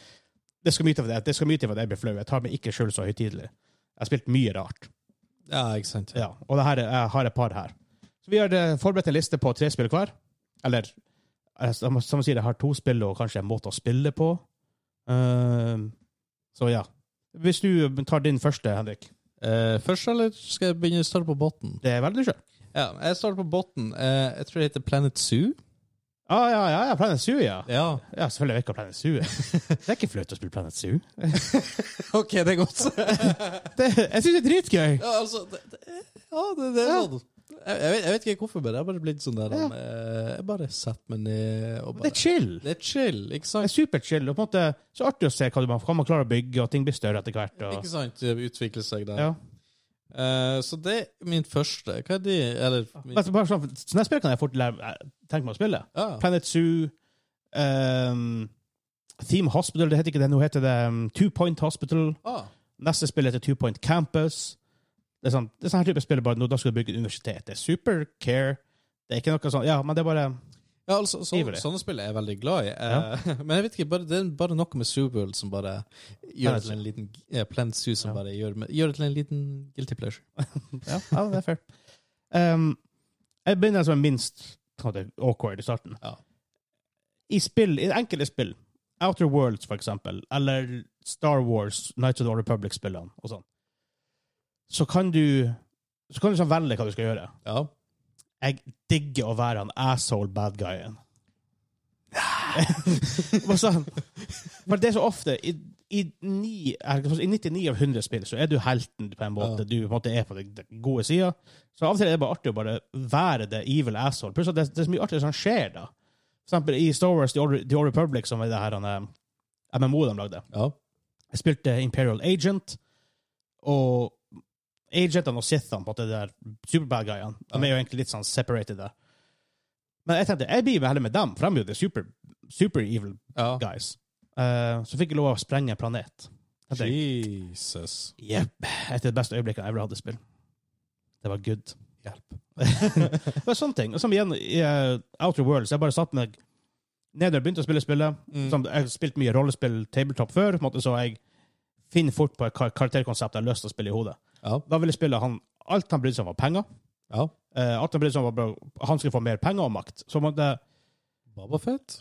Det skal mye til for det, det skal mye til for at jeg blir flau. Jeg tar meg ikke sjøl så høytidelig. Jeg har spilt mye rart.
ja, ikke sant.
Ja, og det her er, jeg har et par her. Så vi har eh, forberedt en liste på tre spill hver. Eller eh, som som man sier, jeg har to spill og kanskje en måte å spille på. Ehm, så ja. Hvis du tar din første, Henrik.
Eh, først, eller skal jeg begynne å starte på botten?
Det er veldig sjøl.
Ja, jeg starter på botten. Eh, jeg tror det heter Planet Zoo.
Ah, ja, ja, ja, Planet Zoo, ja.
Ja,
Ja, Selvfølgelig vet jeg hva Planet Zoo er. Det er ikke flaut å spille Planet Zoo.
ok, det er godt.
Det, jeg syns det er dritgøy.
ja, altså, det, det, ja, det, det er
Ja.
sånn. Jeg, jeg, vet, jeg vet ikke hvorfor, men jeg har bare blitt sånn der. han, eh, jeg bare setter meg ned og
Det
bare...
er chill.
Det er chill, ikke
Det
sant?
er superchill. og på en måte Så artig å se hva man, hva man klarer å bygge, og ting blir større etter hvert. Og,
Ikke sant, det utvikler seg der.
ja.
Eh, så det er min første. Hva er de? Eller, min,
Men så bare sånn, så neste spill kan jeg fort lære, eh, tenke meg å spille.
ja.
Planet Zoo ehm, Theme Hospital, det heter ikke det. Nå heter det um, Two Point Hospital.
Ah,
Neste spill heter Two Point Campus. Det er sånn, det er sånn her type spill, bare nå da skal du bygge et universitet. Det er super care. Det er ikke noe sånn, ja, men det er bare
Ja, altså, så,
Ivrig.
sånne spill er jeg veldig glad i. Eh, Men jeg vet ikke, bare, det er bare noe med Superbowl som bare gjør det til en liten eh, Planet Zoo som
Ja.
bare gjør, gjør det til en liten guilty pleasure.
Ja, ja det er fair. Ehm, jeg begynner som er minst på en måte, awkward i starten.
Ja.
I spill, i enkelte spill, Outer Worlds for eksempel, eller Star Wars, Nights of the Old Republic-spillene og sånn, så kan du så kan du sånn velge hva du skal gjøre.
Ja.
Jeg digger å være han asshole bad guyen. Og sånn, for det er så ofte i, i, ni, er- i 99 av 100 spill så er du helten på en måte.
Ja.
Du på en måte er på den den gode sida. Så av og til er det bare artig å bare være the evil asshole. Pluss at det, det er så mye artig som skjer da. For eksempel i Star Wars The Old, The Old Republic, som er det her han, eh, MMO de lagde.
ja.
Jeg spilte Imperial Agent, og agentene og Sithene, på en måte, de der superbad guyene, de er jo egentlig litt sånn separated der. Men jeg tenkte, jeg blir vel heller med dem, for de er jo the super, super evil
ja.
guys. Eh, så fikk jeg lov å sprenge en planet. Tenkte jeg,
Jesus.
Jepp. Et av de beste øyeblikkene jeg ever hadde i spill. Det var good.
Hjelp.
Det var sånne ting. Og som igjen, i eh, Outer Worlds, jeg bare satt meg ned og begynte å spille spillet.
Mm.
Som, jeg har spilt mye rollespill tabletop før, på en måte, så jeg finner fort på et kar karakterkonsept jeg har lyst til å spille i hodet.
Ja.
Da ville jeg spille han, alt han brydde seg om var penger.
ja.
Eh, alt han brydde seg om var bare- han skulle få mer penger og makt. Så måtte,
Baba Fett?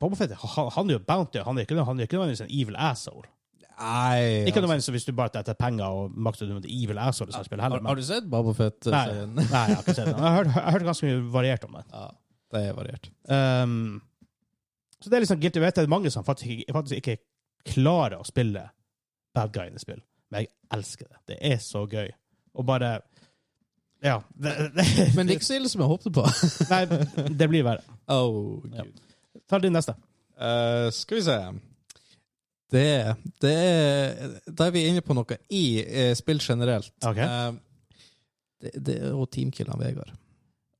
Boba Fett, han, han er jo bounty, han er ikke, han er ikke nødvendigvis en evil asshole.
Nei.
Ikke
altså.
nødvendigvis hvis du bare tar etter penger og makt, så er du en evil asshole som spiller heller.
Har,
Men,
har du sett Baba Fett? eh,
Nei.
serien?
nei, jeg har ikke sett den. Jeg har hørt- jeg har hørt ganske mye variert om den.
Ja, det er variert.
Um, så det er liksom guilty. Jeg vet det er mange som faktisk ikke, faktisk ikke klarer å spille bad guy i spill, men jeg elsker det. Det er så gøy. Og bare Ja. Det, det,
Men det er ikke så ille som jeg håpte på.
nei, det blir verre.
Oh,
Ja.
Gud.
Ta din neste.
Eh, skal vi se det, det er Da er vi inne på noe i eh, spill generelt.
Ok.
Eh, det, det er jo teamkillene Vegard.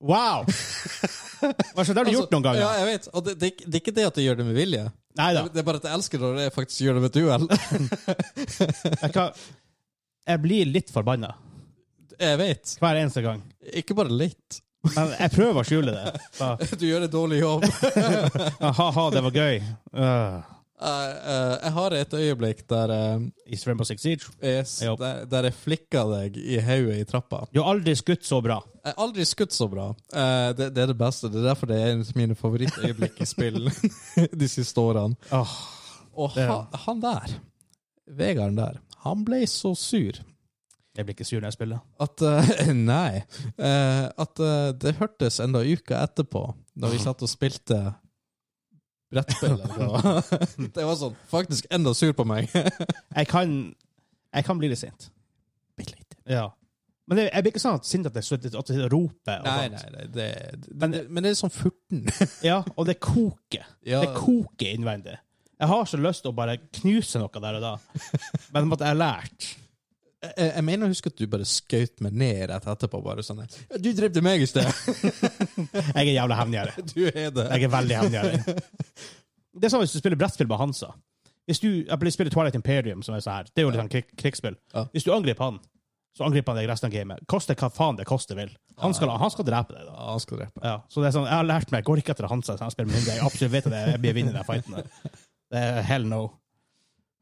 Wow! Hva så, det har du
Altså,
gjort noen ganger.
Ja, jeg vet. Og det, det, er ikke- det er ikke det at jeg gjør det med vilje.
Nei da.
Det er bare at jeg elsker når jeg faktisk gjør det med et uhell.
Jeg, kan- jeg blir litt forbanna
jeg vet.
hver eneste gang.
Ikke bare litt.
Men jeg prøver å skjule det. Bare,
Du gjør en dårlig jobb.
Ha-ha, det var gøy. Uh,
Eh, eh, jeg har et øyeblikk der, eh,
I Rainbow Six Siege.
yes,
Jo.
der, der jeg flikka deg i hodet i trappa.
Du har aldri skutt så bra.
Jeg har aldri skutt så bra. Eh, det, det er det beste. Det er derfor det er en av mine favorittøyeblikk i spill de siste årene.
Åh,
Og
Det er
han, han der, Vegard der, han ble så sur
jeg blir ikke sur når jeg spiller.
at eh, Nei. eh, at eh, det hørtes enda uka etterpå da vi satt og spilte brettspill. eller hva det var. det var sånn Faktisk enda sur på meg.
Jeg kan, jeg kan bli litt sint.
Bitte lite.
Ja. Men det, jeg blir ikke sånn at sint at jeg, sitter- at jeg roper. Og
Nei,
sånt.
nei, nei det, det,
Men-
det, men det er sånn furten.
Ja, og det koker.
Ja.
Det koker innvendig. Jeg har så lyst til å bare knuse noe der og da, men at jeg har lært.
Jeg, Eh, jeg mener jeg husker at du bare skjøt meg ned rett etterpå. bare sånn, «Ja, Du drepte meg i sted!
Jeg er jævla hevngjerrig.
Du er det.
Jeg er veldig hevngjerrig. Det er sånn hvis du spiller brettspill med Hansa. Hvis du jeg blir- spiller Twilight Imperium, som er så her, det er jo litt sånn krig, krigsspill.
Ja.
Hvis du angriper han, så angriper han deg resten av gamet. Koste hva faen det koste vil. Han skal, han skal drepe deg, da.
Ja, han skal drepe.
Ja, så det er sånn, Jeg har lært meg, jeg går ikke etter Hansa, så han spiller med mindre. Jeg absolutt vet at jeg blir vinner i den fighten. der. Det er hell no.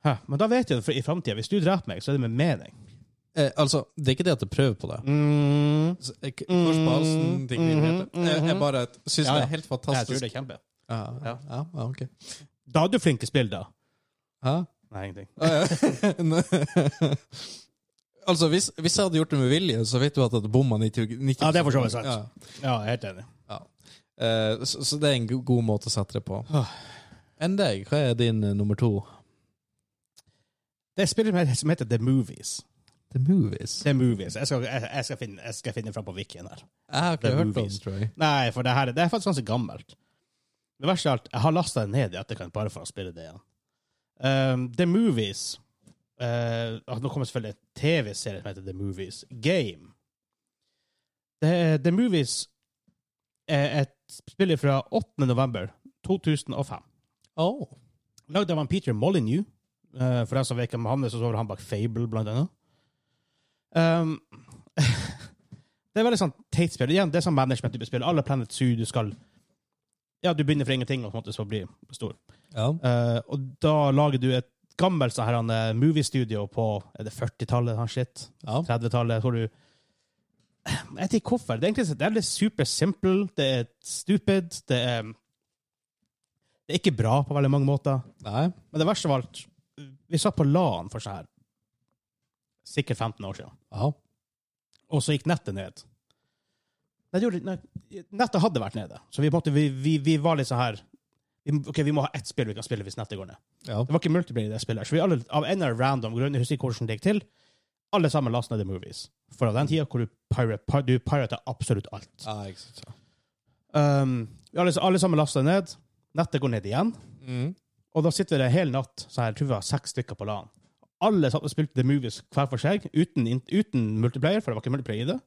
Hæ, Men da vet jeg det for i framtida. Hvis du dreper meg, så er det med mening.
Eh, altså, det er ikke det at jeg prøver på det.
Mm, mm-hmm,
Så jeg- Kors på halsen, ting vi heter. Jeg, jeg bare syns
Ja, ja.
det er helt
jeg
fantastisk.
tror det er kjempe.
Ja, ja,
Ja.
ja, ok.
Da er du flink i spill, da.
Hæ?
Nei, ingenting.
Ah, ja. Nei. altså, hvis, hvis jeg hadde gjort det med vilje, så vet du at jeg hadde bomma 90, 90
Ja, det er for så vidt sant.
Ja.
Ja, jeg er helt enig.
Eh, så, så det er en go- god måte å sette det på.
Ah.
Enn deg, hva er din eh, nummer to?
Det er spillet som heter- som heter The Movies.
The Movies.
Det er movies. Jeg skal, jeg, jeg skal, finne, jeg skal finne fram på wikien her.
Jeg har ikke
The
hørt om
Movies.
tror jeg.
Nei, for det her det er faktisk ganske gammelt. Det verste av alt, jeg har lasta det ned i etterkant bare for å spille det igjen. Um, The Movies eh, ah, Nå kommer selvfølgelig en TV-serie som heter The Movies. Game. Det, er- The Movies er et spill fra 8. november 2005.
Oh.
Lagd av han Peter Molyneux. Eh, for den som vet hvem han er, så sover han bak Fable, blant annet. Um, det er veldig sånn teit spill. Igjen, det er sånn management-type spill. Alle Planet Zoo, du skal Ja, du begynner fra ingenting og på en måte så blir stor.
Ja.
Eh, og da lager du et gammelt sånn her han, eh, moviestudio på Er det 40-tallet, han shit?
ja.
30-tallet, tror du Jeg vet ikke hvorfor. Det er egentlig det er litt super simple, det er stupid, det er Det er ikke bra på veldig mange måter.
Nei.
Men det verste av alt, vi satt på LAN for sånn her, sikkert 15 år siden,
Ja.
og så gikk nettet ned. Nei, det gjorde, nei, nettet hadde vært nede, så vi, på en måte, vi, vi, vi var litt sånn her vi, Ok, vi må ha ett spill vi kan spille hvis nettet går ned.
ja.
Det var ikke multiplayer i det spillet, så vi alle, av en eller annen random grunn, jeg husker ikke hvordan det gikk til, alle sammen lasta ned The Movies. For av den tida hvor du pirate, pi- du pirater absolutt alt.
Ja, ikke sant. ja.
Um, vi alle, alle sammen lasta ned, nettet går ned igjen.
Mm.
Og da sitter vi der hele natt, så jeg tror vi var seks stykker på LAN. Alle satt og spilte The Movies hver for seg, uten, uten multiplayer, for det var ikke multiplayer i det.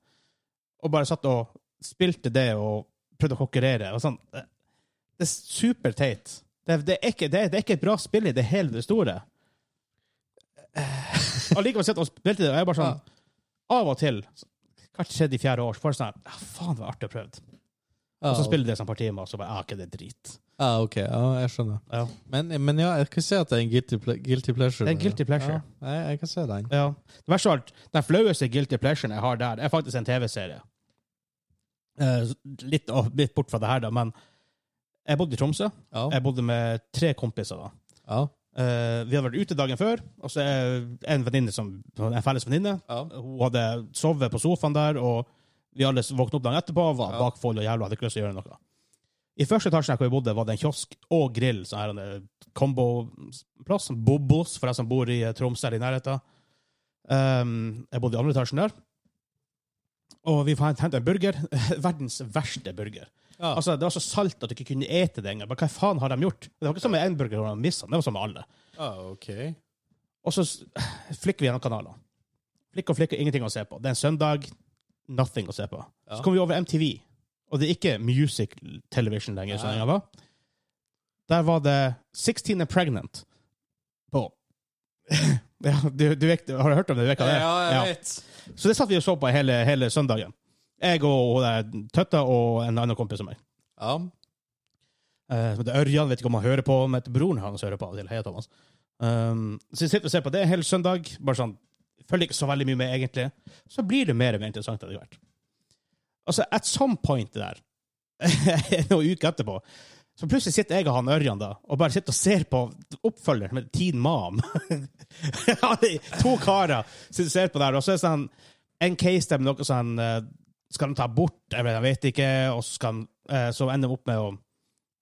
Og bare satt og spilte det og prøvde å konkurrere. Og sånn. Det det er superteit. Det, det, er ikke- det, er- det er ikke et bra spill i det hele det store. Allikevel sitter og spilte det, og jeg er bare sånn Av og til, hvert tredje-fjerde år, så får jeg sånn her, ah, Faen, det var artig å prøve.
Ja,
Og så spiller det som parti med, og så bare ah, ikke det er drit.
ja, ok. Ja, jeg skjønner.
Ja.
Men, men ja, jeg kan se at det er en guilty, ple guilty pleasure.
Det er en guilty pleasure.
Ja, jeg, jeg kan se den.
Ja. Det verste av alt, den flaueste guilty pleasuren jeg har der, er faktisk en TV-serie. Eh, litt, av- litt bort fra det her, da, men jeg bodde i Tromsø.
Ja.
Jeg bodde med tre kompiser. da.
Ja.
Eh, vi hadde vært ute dagen før, og så er en venninne som, en felles venninne
Ja.
hun hadde sovet på sofaen der, og vi alle våkna opp dagen etterpå, var
Ja.
bakfulle og jævla hadde ikke lyst til å gjøre noe. I første etasjen her hvor vi bodde, var det en kiosk og grill, sånn her en komboplass. Bobos, for de som bor i eh, Tromsø eller i nærheten. Um, jeg bodde i andre etasjen der. Og vi hentet en burger. Verdens verste burger.
Ja.
Altså, Det var så salt at du ikke kunne ete det engang. Men Hva faen har de gjort? Det var ikke som med én burger, hvor de misset den. det var som med alle.
ja, ok.
Og så s- flikker vi gjennom kanalene. Flikker og flikker, ingenting å se på. Det er en søndag, nothing å se på.
Ja.
Så kommer vi over MTV, og det er ikke music television lenger. som
Nei.
det en gang var. Der var det 16 and Pregnant på ja, du, du vet, Har du hørt om det? Du vet hva det er?
vet.
Så det satt vi og så på hele, hele søndagen. Jeg og, og Tøtta og en annen kompis av meg.
Ja.
Eh, som heter Ørjan, vet ikke om han hører på, men broren hans hører på av og til. Hei, Thomas. Um, så jeg sitter og ser på det hele søndag. Bare sånn, Følger ikke så veldig mye med, egentlig. Så blir det mer og mer interessant etter hvert. Altså, at some point der, noen uker etterpå, så plutselig sitter jeg og han Ørjan da, og bare sitter og ser på oppfølgeren med Teen Mam. Ja, de to karer sitter og ser på der, og så er det sånn en case der med noe sånn eh, Skal de ta bort Jeg vet, jeg vet ikke. Og så skal de eh, som ender opp med å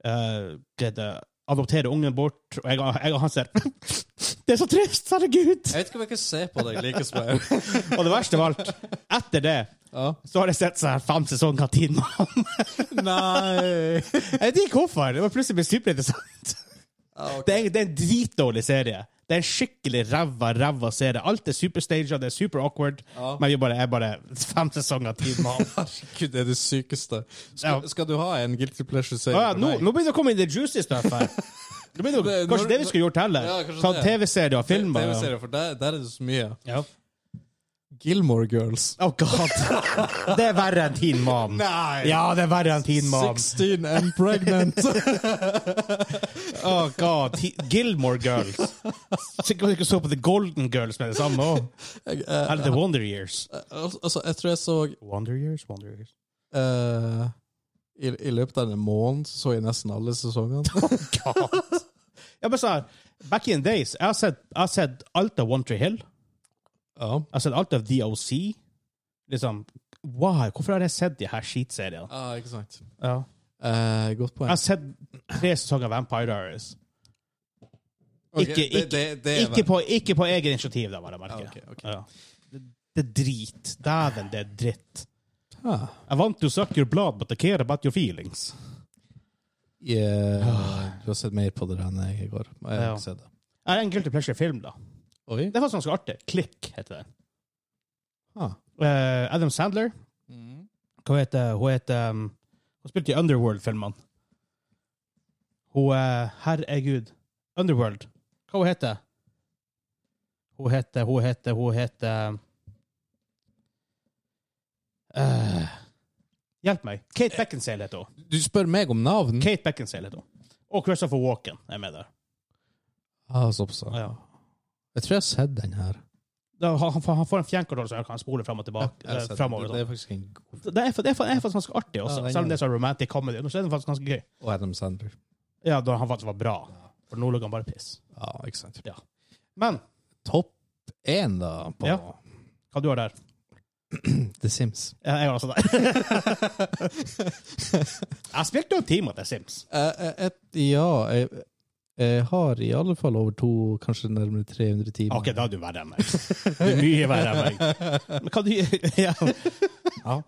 eh, hva heter det, adoptere ungen bort. Og jeg, og- jeg og han ser Det er så trist! Herregud!
Jeg vet ikke om jeg kan se på deg like som jeg er.
Og det verste av alt, etter det
Ja.
så har jeg sett sånn her fem sesonger av Teen Mom.
Nei!
Jeg vet ikke hvorfor. Det var plutselig blitt superinteressant.
Ja, ok.
Det er, det er en dritdårlig serie. Det er en skikkelig ræva, ræva serie. Alt er superstaged, det er super awkward.
Ja.
Men vi bare er bare fem sesonger av Teen Mom.
Herregud, det er det sykeste. Skal,
Ja.
skal du ha en guilty pleasure-serie?
Ah, ja,
for
nå,
meg?
nå begynner det å komme inn det juicy stuff her. Nå begynner det,
Det-
kanskje
når-
det vi skulle gjort heller?
Ja, kanskje
Ta
det.
TV-serier og filmer. ja.
TV-serier, for der, der er det så mye.
Ja.
Gilmore Girls.
Oh god! Det er verre enn Teen Mom.
Nei!
Ja, det er verre enn Teen Mom.
16 and pregnant.
Oh god, Ti- Gilmore Girls. Sikkert ikke så på The Golden Girls med det samme òg.
Jeg, eh,
Eller The Wonder Years.
al- altså, jeg tror jeg så
Wonder Years, Wonder Years.
eh, i, I løpet av en måned så så jeg nesten alle sesongene.
God. Ja, men så her, Back in the days, jeg har sett, jeg har sett alt av One Tree Hill.
ja.
Jeg har sett alt av DOC. Liksom, wow, hvorfor har jeg sett de her skitseriene?
Ah, ikke sant.
Ja.
Eh, godt poeng.
Jeg har sett tre sesonger av Vampire Diaries.
Ok,
ikke-
det- det- det er
Ikke på, ikke på egen initiativ, da, bare merke.
Ah, ok, ok.
Ja. Det, det er drit. Dæven, det er dritt.
Ah.
I want to suck your blood, but I care about your feelings.
Yeah. Du har sett mer på det enn jeg i går. Jeg har
Ah. Ja.
ikke sett det.
Er en guilty pleasure-film, da.
Oi.
Det var ganske artig. Klikk, heter det.
Ah.
Eh, Adam Sandler.
Mm.
Hva heter Hun heter um, Hun spilte i Underworld-filmene. Hun uh, Herregud. Underworld. Hva hun heter hun? heter Hun heter Hun heter um, eh, Hjelp meg. Kate Beckinsale heter hun.
Du spør meg om navn?
Kate Beckinsale heter hun. Og Christopher Walken er med der.
Ah, såpass.
Ja.
Jeg tror jeg har sett den her.
Da, han, han- han får en fjernkontroll, så han kan spole fram og tilbake.
Jeg har
eh,
sett den.
fremover,
Det
sånn.
er faktisk en god
det, er, fa- det, er, fa- det er faktisk ganske artig, også,
Ja, den er-
selv om det er så romantic comedy. Nå er det faktisk ganske gøy.
Og Adam Sandberg.
Ja, da han faktisk var bra. For nå lå han bare piss.
Ja, ikke sant.
Men
Topp én, da, på
Ja. hva du har der?
The Sims.
Jeg jeg har også der. jeg spilte jo en time til Sims.
Eh, ja, jeg, jeg har i alle fall over to, kanskje nærmere 300 timer.
Ok, da er du verre enn meg. Du er mye verre enn meg. Men hva du Ja. ja.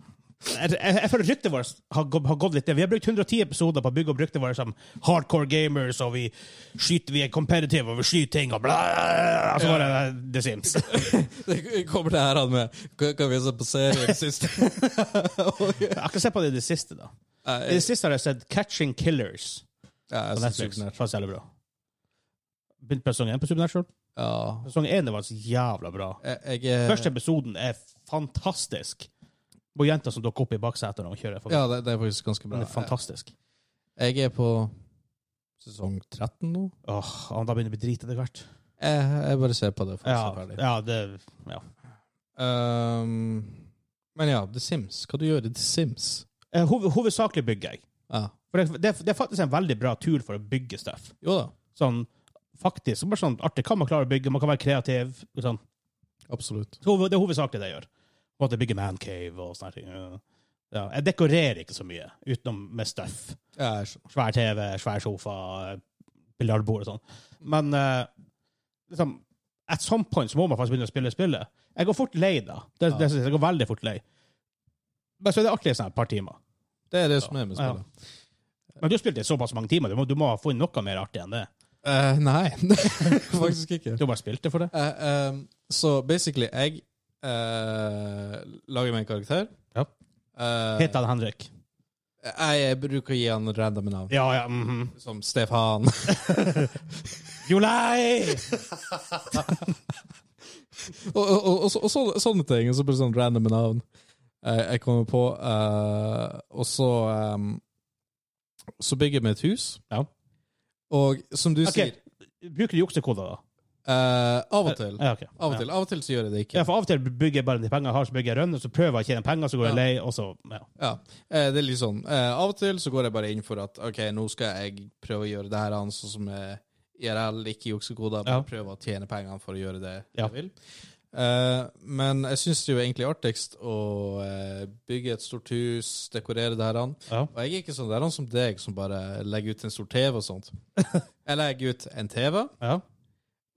Jeg, jeg, jeg føler ryktet vårt har, gå- har gått litt ned. Vi har brukt 110 episoder på å bygge opp ryktet vårt som hardcore gamers, og vi skyter, vi er competitive, og vi skyter ting, og bla Altså bare The Sims.
Det kommer det her an med Hva kan vi se på serien sist?
Jeg har ikke sett på det i det siste, da. I det siste har jeg sett Catching Killers. på Netflix. Fast jævlig bra. Begynte på sesong én på Supernatural.
Ja.
Sesong én var så jævla bra.
Jeg, jeg, er-
Første episoden er fantastisk. Og jenta som dukker opp i baksetet når hun kjører. forbi.
ja, det, det er faktisk ganske bra.
Den er fantastisk.
Jeg, jeg er på sesong 13 nå.
Åh, han da begynner å bli drit etter hvert.
Jeg, jeg bare ser på det for å se
Ja,
ferdig.
ja, det, ja.
Ehm, men ja, The Sims. Hva du gjør i The Sims?
Eh, Hoved, hovedsakelig bygger jeg.
Ja.
For det, det, det er faktisk en veldig bra tur for å bygge stuff.
Jo da,
Sånn, faktisk, så bare sånn artig. Kan man klare å bygge? Man kan være kreativ. Sånn.
absolutt.
Så hov- Det er hovedsakelig det jeg gjør. På en måte bygge mancave og sånne ting. Ja. Ja, jeg dekorerer ikke så mye, utenom med stuff.
Ja, jeg skjønner.
Svær TV, svær sofa, biljardbord og sånn. Men eh, liksom, at some point så må man faktisk begynne å spille spillet. Jeg går fort lei da. Det,
Ja.
det, synes jeg jeg går veldig fort lei. Men så er det artig i sånn et par timer.
Det er det som er med
Ja.
spillet.
Men du har spilt i såpass mange timer, du må, du må ha funnet noe mer artig enn det.
Eh, nei, faktisk ikke.
Du har bare spilt det for det.
Eh, ehm, så basically, jeg eh, lager meg en karakter.
Ja.
Eh,
Heter han Henrik?
jeg, jeg bruker å gi han random navn.
Ja, ja, mhm.
Som Stefan.
Jolei!
og, og, og, og, så- og så, sånne ting. Og så bare sånn random navn eh, jeg kommer på. eh, og så ehm, Så bygger jeg meg et hus.
Ja.
Og som du
Ok,
sier,
bruker du juksekoder da?
eh, av og til.
Ja, ok.
Av og
Ja.
til av og til så gjør jeg det ikke.
Ja, for av og til bygger jeg bare de pengene jeg har, så bygger jeg rønn, og så prøver jeg å tjene penger, så går jeg
Ja.
lei, og så ja.
Ja, eh, det er litt sånn. Eh, av og til så går jeg bare inn for at ok, nå skal jeg prøve å gjøre det her an, sånn som eh, IRL, ikke juksekoder, bare
Ja.
prøve å tjene pengene for å gjøre det
Ja.
jeg vil. Eh, men jeg syns det er jo egentlig artigst å eh, bygge et stort hus, dekorere det her an.
Ja.
Og jeg er ikke sånn der han som deg, som bare legger ut en stor TV og sånt. Jeg legger ut en TV,
Ja.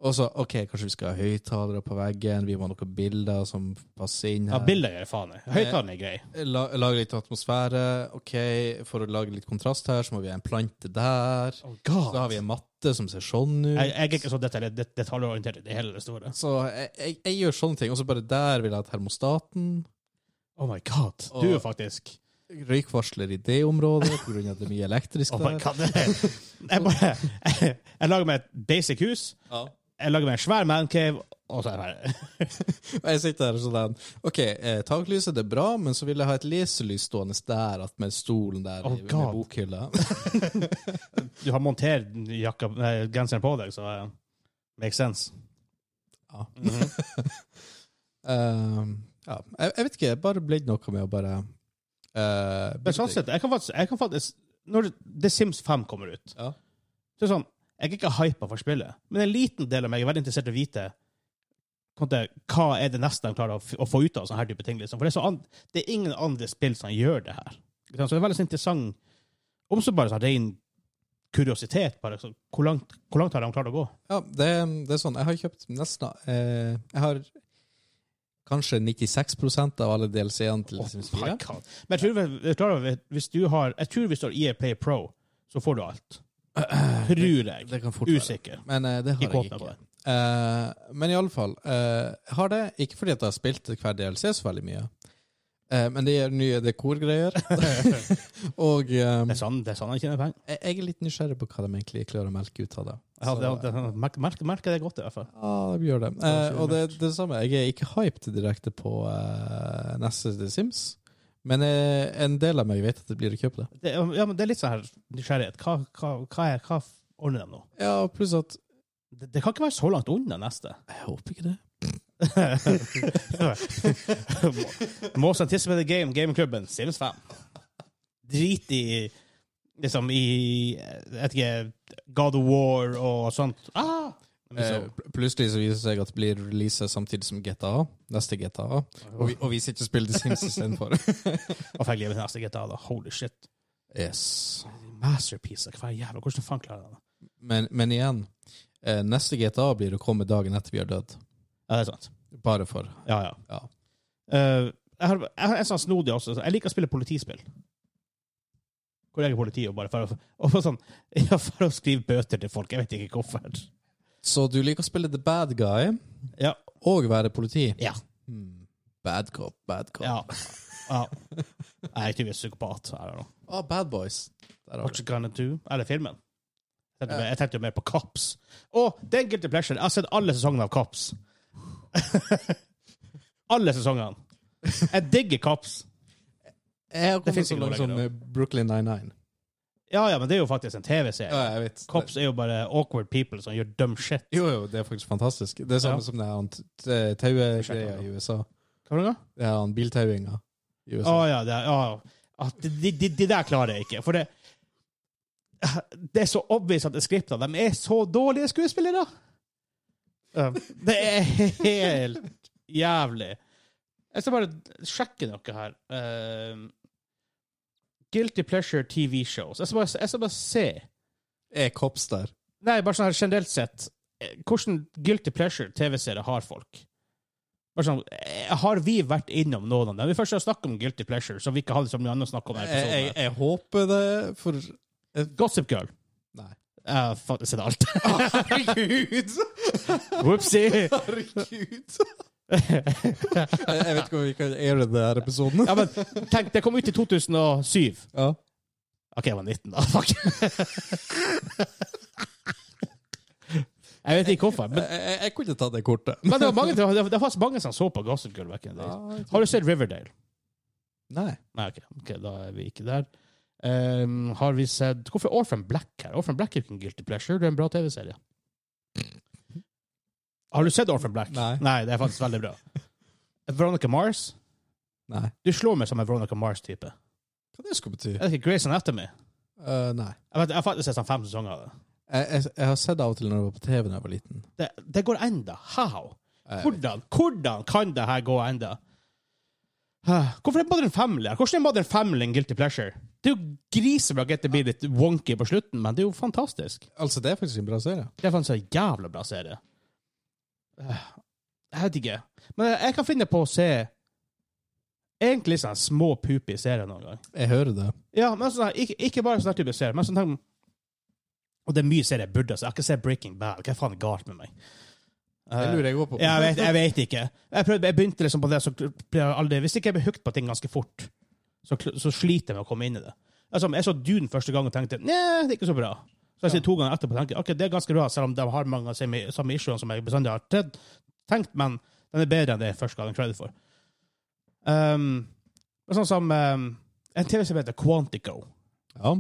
og så OK, kanskje vi skal ha høyttalere på veggen, vi må ha noen bilder som passer inn
ja Eh,
her.
bilder gjør faen i. Høyttaleren er grei.
La, lage litt atmosfære. OK, for å lage litt kontrast her, så må vi ha en plante der.
Oh,
Så har vi en matte som ser sånn ut.
Jeg, jeg er ikke så detalj, det- detaljorientert i det hele det store.
Så jeg, jeg, jeg gjør sånne ting. Og så bare der vil jeg ha termostaten.
Oh my god. Du er faktisk
Røykvarsler i det området pga. at det er mye elektrisk
Oh my
der.
god. det er- Jeg bare jeg, jeg lager meg et basic hus.
Ja.
Jeg lager meg en svær mancave, og så er jeg ferdig.
Og jeg sitter her sånn der, OK, eh, taklyset det er bra, men så vil jeg ha et leselys stående der at med stolen der
Oh
i, med
god.
bokhylla.
Du har montert jakka, nei, genseren på deg, så eh, makes sense.
Ja.
Mhm.
Eh, ja. Jeg, jeg vet ikke, jeg bare blitt noe med å bare eh,
Men sånn sett, jeg kan faktisk, jeg kan faktisk Når The Sims 5 kommer ut,
Ja.
så er det sånn Jeg er ikke hypa for spillet, men en liten del av meg er veldig interessert i å vite på en måte, hva er det neste de klarer å, f- å få ut av sånne her type ting. Liksom. For det er, så an, det er ingen andre spill som gjør det her. Ikke sant? Så det er veldig sånn interessant Om så bare sånn ren kuriositet. Bare, så, hvor, langt, hvor langt har de klart å gå?
Ja, det, det er sånn. Jeg har kjøpt nesten eh, Jeg har kanskje 96 av alle DLC-ene til
Oh
Sims
my
4.
God. Men jeg tror, vi- vi er klar over at hvis du har Jeg tror hvis du har EA Play Pro, så får du alt. Tror jeg.
Det kan fort være.
Usikker.
Men eh, det har
Ikke
jeg
åpna på
ikke.
det.
Eh, men iallfall uh, Har det, ikke fordi at jeg har spilt hver DLC så veldig mye, eh, men det gjør nye dekorgreier. og eh,
Det er sånn, det er sånn jeg tjener penger.
jeg, jeg er litt nysgjerrig på hva de egentlig klarer å melke ut av det.
Ja,
Så-
det, det, merk- merk- merker det godt, i hvert fall.
Ja, de gjør det.
Ja, det
Eh, og det, det samme, jeg er ikke hyped direkte på eh, neste The Sims, men eh, en del av meg vet at det blir å kjøpe det.
Det, ja, men det er litt sånn her nysgjerrighet. Hva, hva, hva, er, hva f- ordner de nå?
Ja, og pluss at
Det, det kan ikke være så langt unna neste.
Jeg håper ikke det.
Most anticipated game, gamingklubben, Sims 5. Drit i liksom i jeg vet ikke, God of War og sånt. Ah!
Eh,
Liksom.
pl- plutselig så viser det seg at det blir releaset samtidig som GTA. Neste GTA. Og vi, og vi sitter og spiller The Sims istedenfor.
Og fikk livet til neste GTA. da. Holy shit.
yes.
Masterpiece. Hva jævla, hvordan faen klarer han det?
men, men igjen, eh, neste GTA blir å komme dagen etter vi har dødd.
Ja, det er sant.
Bare for.
Ja, ja.
Ja.
Eh, jeg, har, jeg har en sånn snodig også. Jeg liker å spille politispill. Hvor jeg er politi, og bare for å, og for, sånn, ja, for å skrive bøter til folk. Jeg vet ikke hvorfor.
Så du liker å spille the bad guy
Ja.
og være politi?
Ja.
Hmm. Bad cop, bad cop.
Ja. ja. Jeg er tydeligvis psykopat. I don't know.
Ah, Bad Boys. Der har
What
du.
you gonna do? Eller filmen. Jeg tenkte, mer- jeg tenkte jo mer på Cops. Og det er en guilty pleasure. Jeg har sett alle sesongene av Cops. alle sesongene. Jeg digger Cops.
Jeg har
Det
kommet
finnes
så
ikke noe
langt som
lenger,
eh, Brooklyn 99.
Ja, ja, men det er jo faktisk en TV-serie.
Ja, jeg vet.
Cops er jo bare awkward people som gjør dumb shit.
Jo, jo, det er faktisk fantastisk. Det er samme
Ja.
som det her han t- t- tauegreia i USA.
Hva var det da?
Det her han biltauinga
Å
i USA.
ja, det er, ja. At de, de, de der klarer jeg ikke. For det Det er så obvious at det er skripta. De er så dårlige skuespillere! Um, Det er helt jævlig. Jeg skal bare sjekke noe her. Um, Guilty Pleasure TV-shows. Jeg, skal bare- jeg skal bare se.
Er cops der?
Nei, bare sånn her generelt sett. eh, Hvordan guilty pleasure TV-serier har folk? Bare sånn, eh, Har vi vært innom noen av dem? Vi først skal snakke om guilty pleasure, så vi ikke har det som noe annet å snakke om. i
Jeg,
episoden
jeg,
her.
jeg håper det, for
Gossip Girl.
Nei.
Jeg har faen sett alt.
Ah, Herregud!
Whoopsie!
Herregud! jeg, jeg vet ikke om vi kan aire denne episoden.
Ja, men tenk, det kom ut i 2007.
Ja.
OK, jeg var 19 da. Fuck. Jeg vet ikke hvorfor, men,
Jeg, jeg, jeg kunne tatt det kortet.
men det var mange, det var, det var mange som så på Gossip Girl. back in the days. Har du sett Riverdale?
Nei.
Nei, ok. Ok, da er vi ikke der. Ehm, har vi sett Hvorfor er Orphan Black her? Orphan Black er ikke en guilty pleasure, det er en bra TV-serie. Har du sett Orphan Black?
Nei.
det er faktisk veldig bra. Veronica Mars?
Nei.
Du slår meg som en Veronica Mars-type.
Hva det skulle bety?
Jeg vet ikke, Grace Anatomy. Jeg,
Eh, nei.
vet, jeg har faktisk sett sånn fem sesonger av det.
Jeg, jeg, jeg har sett det av og til når jeg var på TV da jeg var liten.
Det, det går enda. How?
Jeg vet.
Hvordan, hvordan kan det her gå enda? Ah, Hvorfor er Modern Family her? Hvordan er Modern Family en guilty pleasure? Det er jo grisebra at det blir litt wonky på slutten, men det er jo fantastisk.
Altså, det er faktisk en bra serie.
Det er faktisk en jævla bra serie. Eh, Jeg vet ikke. Men jeg kan finne på å se egentlig sånne små puper i serier noen gang.
Jeg hører det.
Ja, men sånn, her- ikke, ikke bare sånn her type serier, men sånn her- Og det er mye serier jeg burde se. Jeg har ikke sett Breaking Bad. Hva faen er galt med meg? Eh,
Det lurer jeg òg på.
ja, jeg, vet, jeg vet ikke. Jeg, prøvde, jeg begynte liksom på det, så ble jeg aldri Hvis ikke jeg blir hooked på ting ganske fort, så, kl- så sliter jeg med å komme inn i det. Altså, jeg så Dune første gang og tenkte Nei, det er ikke så bra. Så jeg sier to ganger etterpå tenker jeg, ok, det er ganske bra, selv om de har mange av de samme samme issuene som jeg bestandig har tred- tenkt, men den er bedre enn det jeg første gang credit for. Um, og sånn som um, en TV-serie heter Quantico.
Ja.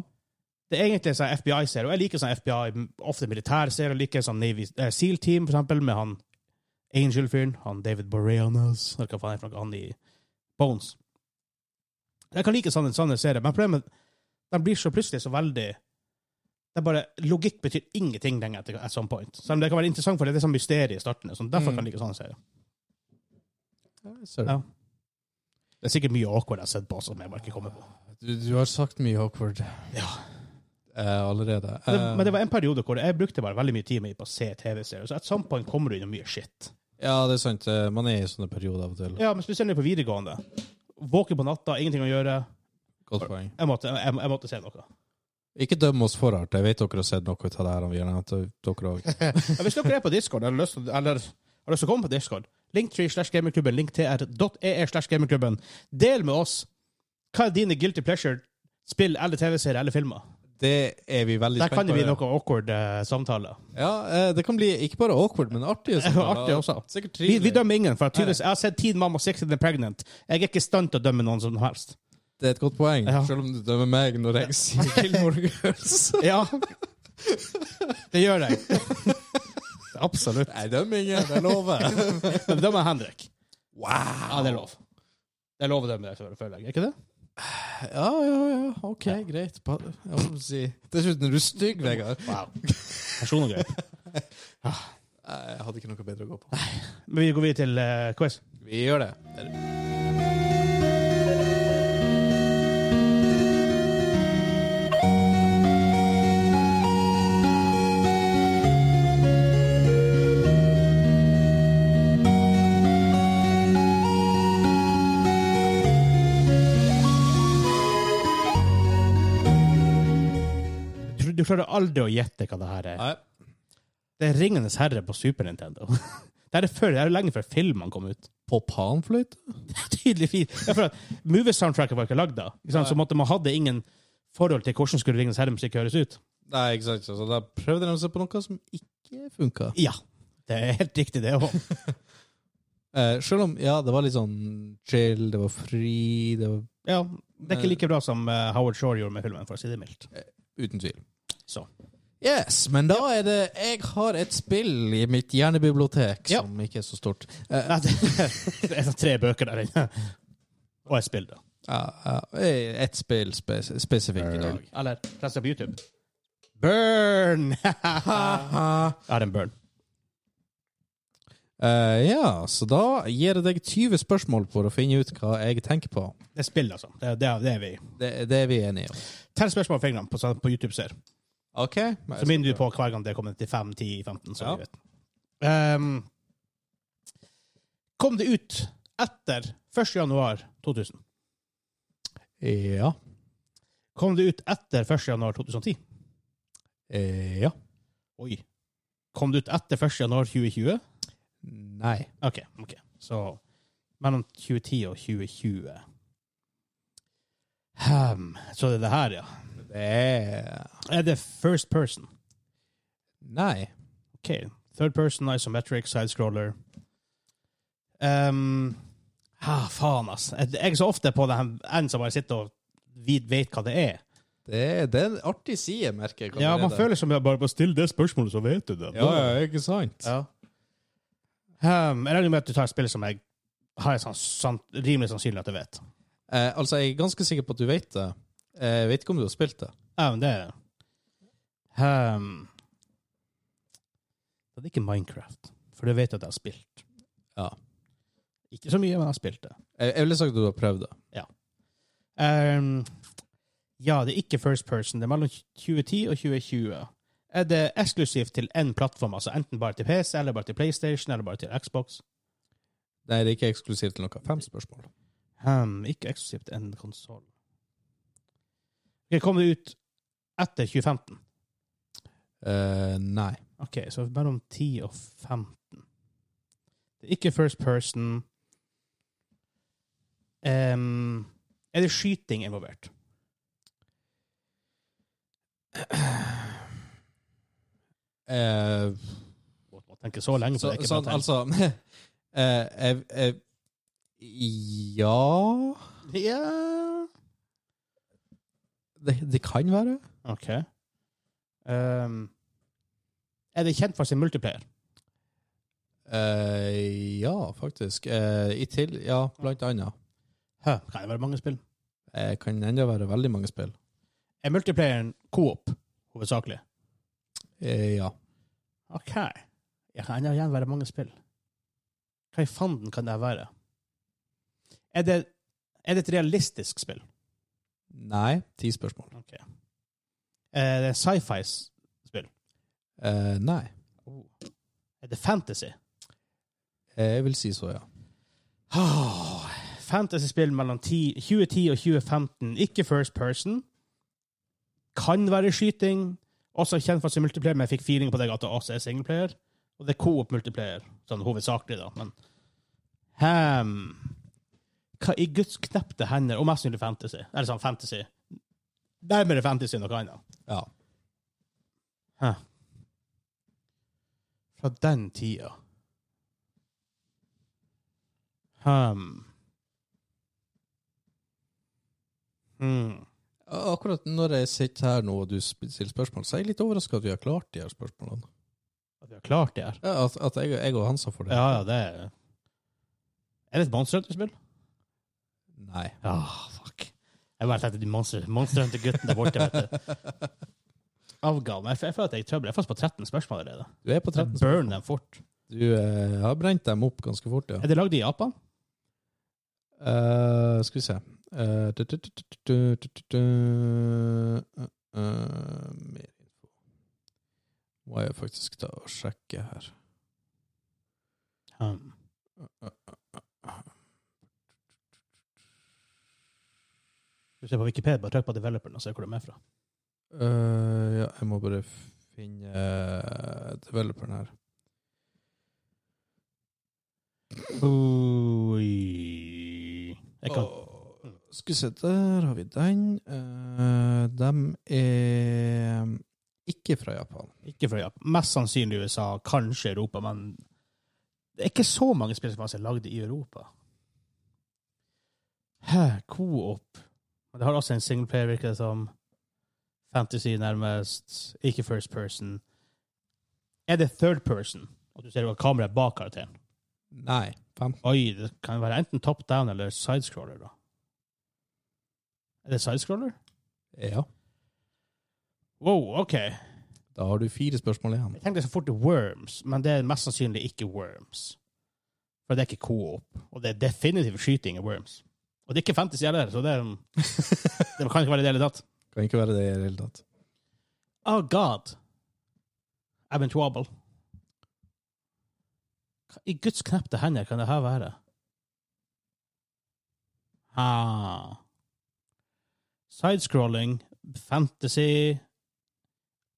Det er egentlig en sånn FBI-serie, og jeg liker sånn FBI, m- ofte militærserie, jeg liker sånn Navy eh, SEAL Team, for eksempel, med han Angel-fyren, han David Boreanaz, eller hva faen er det for noe, han i Bones. Jeg kan like sånne, sånne serier, men problemet de blir så plutselig så veldig det er bare, Logikk betyr ingenting lenger etter at some point. Selv om det kan være interessant, for det er sånn mysterium i starten. Sånn, derfor
Mm.
kan jeg like sånne serier.
jeg ser det.
Ja. Det er sikkert mye awkward jeg har sett på som jeg bare ikke kommer på.
Du, du har sagt mye awkward
Ja.
eh, allerede.
Men det,
Eh,
men det var en periode hvor jeg brukte bare veldig mye tid med på å se TV-serier, så at some point kommer du inn i mye shit.
Ja, det er sant. eh, Man er i sånne perioder av og til.
Ja, men spesielt på videregående. Våken på natta, ingenting å gjøre.
Godt poeng.
Jeg måtte, jeg, jeg måtte se noe.
Ikke døm oss for hardt. Jeg vet dere har sett noe ut av det her. om vi har nevnt det, Dere også.
Men hvis dere er på Discord, eller, har lyst til- eller har lyst til å komme på Discord, linktree slash gamingklubben, linktr.ee slash gamingklubben, del med oss hva er dine guilty pleasure, spill eller TV-serier eller filmer.
Det er vi veldig
Der kan det bli
ja.
noe awkward eh, samtale.
Ja, eh, det kan bli ikke bare awkward, men artig. også.
Artig også.
Sikkert
Vi,
trivelig.
vi dømmer ingen, for at tydeligvis, jeg har sett Teen Mom og Six and the Pregnant. Jeg er ikke i stand til å dømme noen som helst.
Det er et godt poeng,
Ja.
selv om du dømmer meg når jeg sier Gilmore Girls.
Ja. Det gjør jeg. Absolutt.
Nei, dømmer ingen, det lover jeg.
Men dømmer Henrik. Ja,
Wow!
det er lov. Det er lov å dømme deg for, føler jeg. Er ikke det?
Ja, ja, ja. Ok, greit. Ba- Jeg må si. Dessuten er du stygg, Vegard.
Wow. Personangrep.
Nei, Jeg hadde ikke noe bedre å gå på.
Men vi går videre til eh, quiz.
Vi gjør det.
Du, du klarer aldri å gjette hva det her er.
Nei.
Det er Ringenes herre på Super Nintendo. Det er, det før, det er lenge før filmene kom ut.
På panfløyte?
Tydeligvis. Det er for at Moviesoundtracket var ikke lagd da. Ikke sant? Så måtte man hadde ingen forhold til hvordan skulle Ringenes herre-musikk høres ut.
Nei, ikke sant. Så da prøvde de seg på noe som ikke funka.
Ja. Det er helt riktig, det òg.
Eh, selv om, ja, det var litt sånn chill, det var fri, det var
Ja, det er ikke like bra som eh, Howard Shore gjorde med filmen, for å si det mildt.
Uten tvil.
Så.
Yes, men da er det Jeg har et spill i mitt hjernebibliotek
Ja.
som ikke er så stort. Eh,
Nei, det, det er sånn tre bøker der inne. Og et spill, da.
ja, ja, eh, et spill spes spesifikt i dag.
Eller pressa på YouTube. Burn! Jeg har en burn.
Eh, ja, så da gir jeg deg 20 spørsmål for å finne ut hva jeg tenker på.
Det er spill, altså. Det, det, det er vi.
Det, det er vi enige om.
Tell spørsmål på fingrene på, sånn på YouTube ser.
OK?
Så minner du på hver gang det kommer til 5, 10, 15, så
Ja.
vi vet. Ehm, kom det ut etter 1. januar 2000?
Ja.
Kom det ut etter 1. januar 2010?
Eh, ja.
Oi. Kom det ut etter 1. januar 2020?
Nei.
OK. ok. Så mellom 2010 og 2020. Hmm, så det er det her, ja.
Det er
Er det first person?
Nei.
OK. Third person, isometric, sidescroller. Um, ha, faen, ass. Jeg jeg er så ofte på den en som bare sitter og vid- vet hva det er.
Det, det er en artig side, merker jeg.
Ja, man
allerede.
føler som jeg bare bare stiller det spørsmålet, så vet du det.
Ja, ja, ikke sant?
Ja. Um, jeg regner med at du tar et spill som jeg har en sånn, sant- rimelig sannsynlig at jeg vet.
Eh, altså, jeg er ganske sikker på at du vet det. Eh, Jeg vet ikke om du har spilt det.
Ja, men Um, det er um, det. Ehm, det er ikke Minecraft, for det vet jeg at jeg har spilt.
Ja.
Ikke så mye, men jeg har spilt det.
Eh, Jeg, jeg ville sagt at du har prøvd det.
Ehm, ja, det er ikke first person. Det er mellom 2010 og 2020. Er det eksklusivt til én plattform, altså enten bare til PC, eller bare til PlayStation, eller bare til Xbox?
Nei, det er ikke eksklusivt til noe. Fem spørsmål.
Hmm, ikke eksklusivt til én konsoll. Okay, kom det ut etter 2015?
Eh, nei.
OK, så mellom 10 og 15. Det er ikke first person. Ehm, er det skyting involvert?
Eh,
Må må tenke så lenge på
så,
Mm. det. ikke
sånn,
bare tenke.
altså eh, jeg, jeg, Ja
Ja
det, det kan være.
Ok. Ehm, er det kjent for sin multiplayer?
Eh, ja, faktisk. Eh, I til, ja, blant annet.
Hæ, kan det være mange spill?
Eh, kan enda være veldig mange spill.
Er multiplayeren coop, hovedsakelig?
Eh, ja.
Ok. Jeg kan enda igjen være mange spill. Hva i fanden kan det være? Er det, er det et realistisk spill?
Nei, ti spørsmål.
Er det sci-fi? s-
Eh, nei.
Er det fantasy?
Eh, jeg vil si så, ja.
Ah, Fantasy-spill mellom 10, 2010 og 2015, ikke first person. Kan være skyting. Også kjent for sin multiplayer, men jeg fikk feeling på deg at det også er singleplayer. Og det er co-op multiplayer, sånn hovedsakelig, da. Men Hem. Hva i guds knepte hender Og mest sannsynlig fantasy. Eller sånn fantasy. Nærmere fantasy enn noe annet.
Ja.
Fra den tida. Hem. Hmm.
Akkurat når jeg sitter her nå og du sp- stiller spørsmål, så er jeg litt overraska at vi har klart de her spørsmålene.
At vi har klart det her.
Ja, At, at jeg, jeg og Hansa får det.
Ja, ja, det er Er det et Monster Hunter-spill?
Nei.
Ja, fuck. Jeg bare tenkte de Monster, Monster Hunter-guttene der borte, vet du. Avga meg. Jeg føler- Jeg føler at jeg er i trøbbel. Jeg er fast på 13 spørsmål allerede.
Du er på 13.
Jeg burn dem fort.
Du eh, har brent dem opp ganske fort, ja.
Er det lagd i Japan?
Eh, skal vi se Eh, du- du- du- du- du- du- du- du- eh, eh, Mer info Må jeg faktisk ta og sjekke her.
Hmm. Du ser på Wikipedia, bare trykk på developeren og se hvor de er fra.
Eh, ja, jeg må bare finne eh, developeren her.
Oi. Jeg kan
Åh, skal vi se, der har vi den. Eh, dem er ikke fra Japan.
ikke fra Japan. Mest sannsynlig USA, kanskje Europa, men det er ikke så mange spill som faktisk er lagd i Europa. Hæ, Co-op. Men det har også en singleplayer, virker det som. Fantasy, nærmest. Ikke first person. Er det third person? At du ser det var kameraet bak karakteren.
Nei. Fem.
Oi, det kan være enten top down eller sidescroller, da. Er det sidescroller?
Ja.
Wow, OK.
Da har du fire spørsmål igjen.
Jeg tenkte så fort til Worms, men det er mest sannsynlig ikke Worms. For det er ikke co-op, og det er definitivt skyting i Worms. Og det er ikke fantasy heller, så det, det kan ikke være det hele tatt.
Kan ikke være det i det hele tatt.
Oh god. I've been trouble. Hva i guds knepte hender kan det her være? Ah. Sidescrolling, fantasy,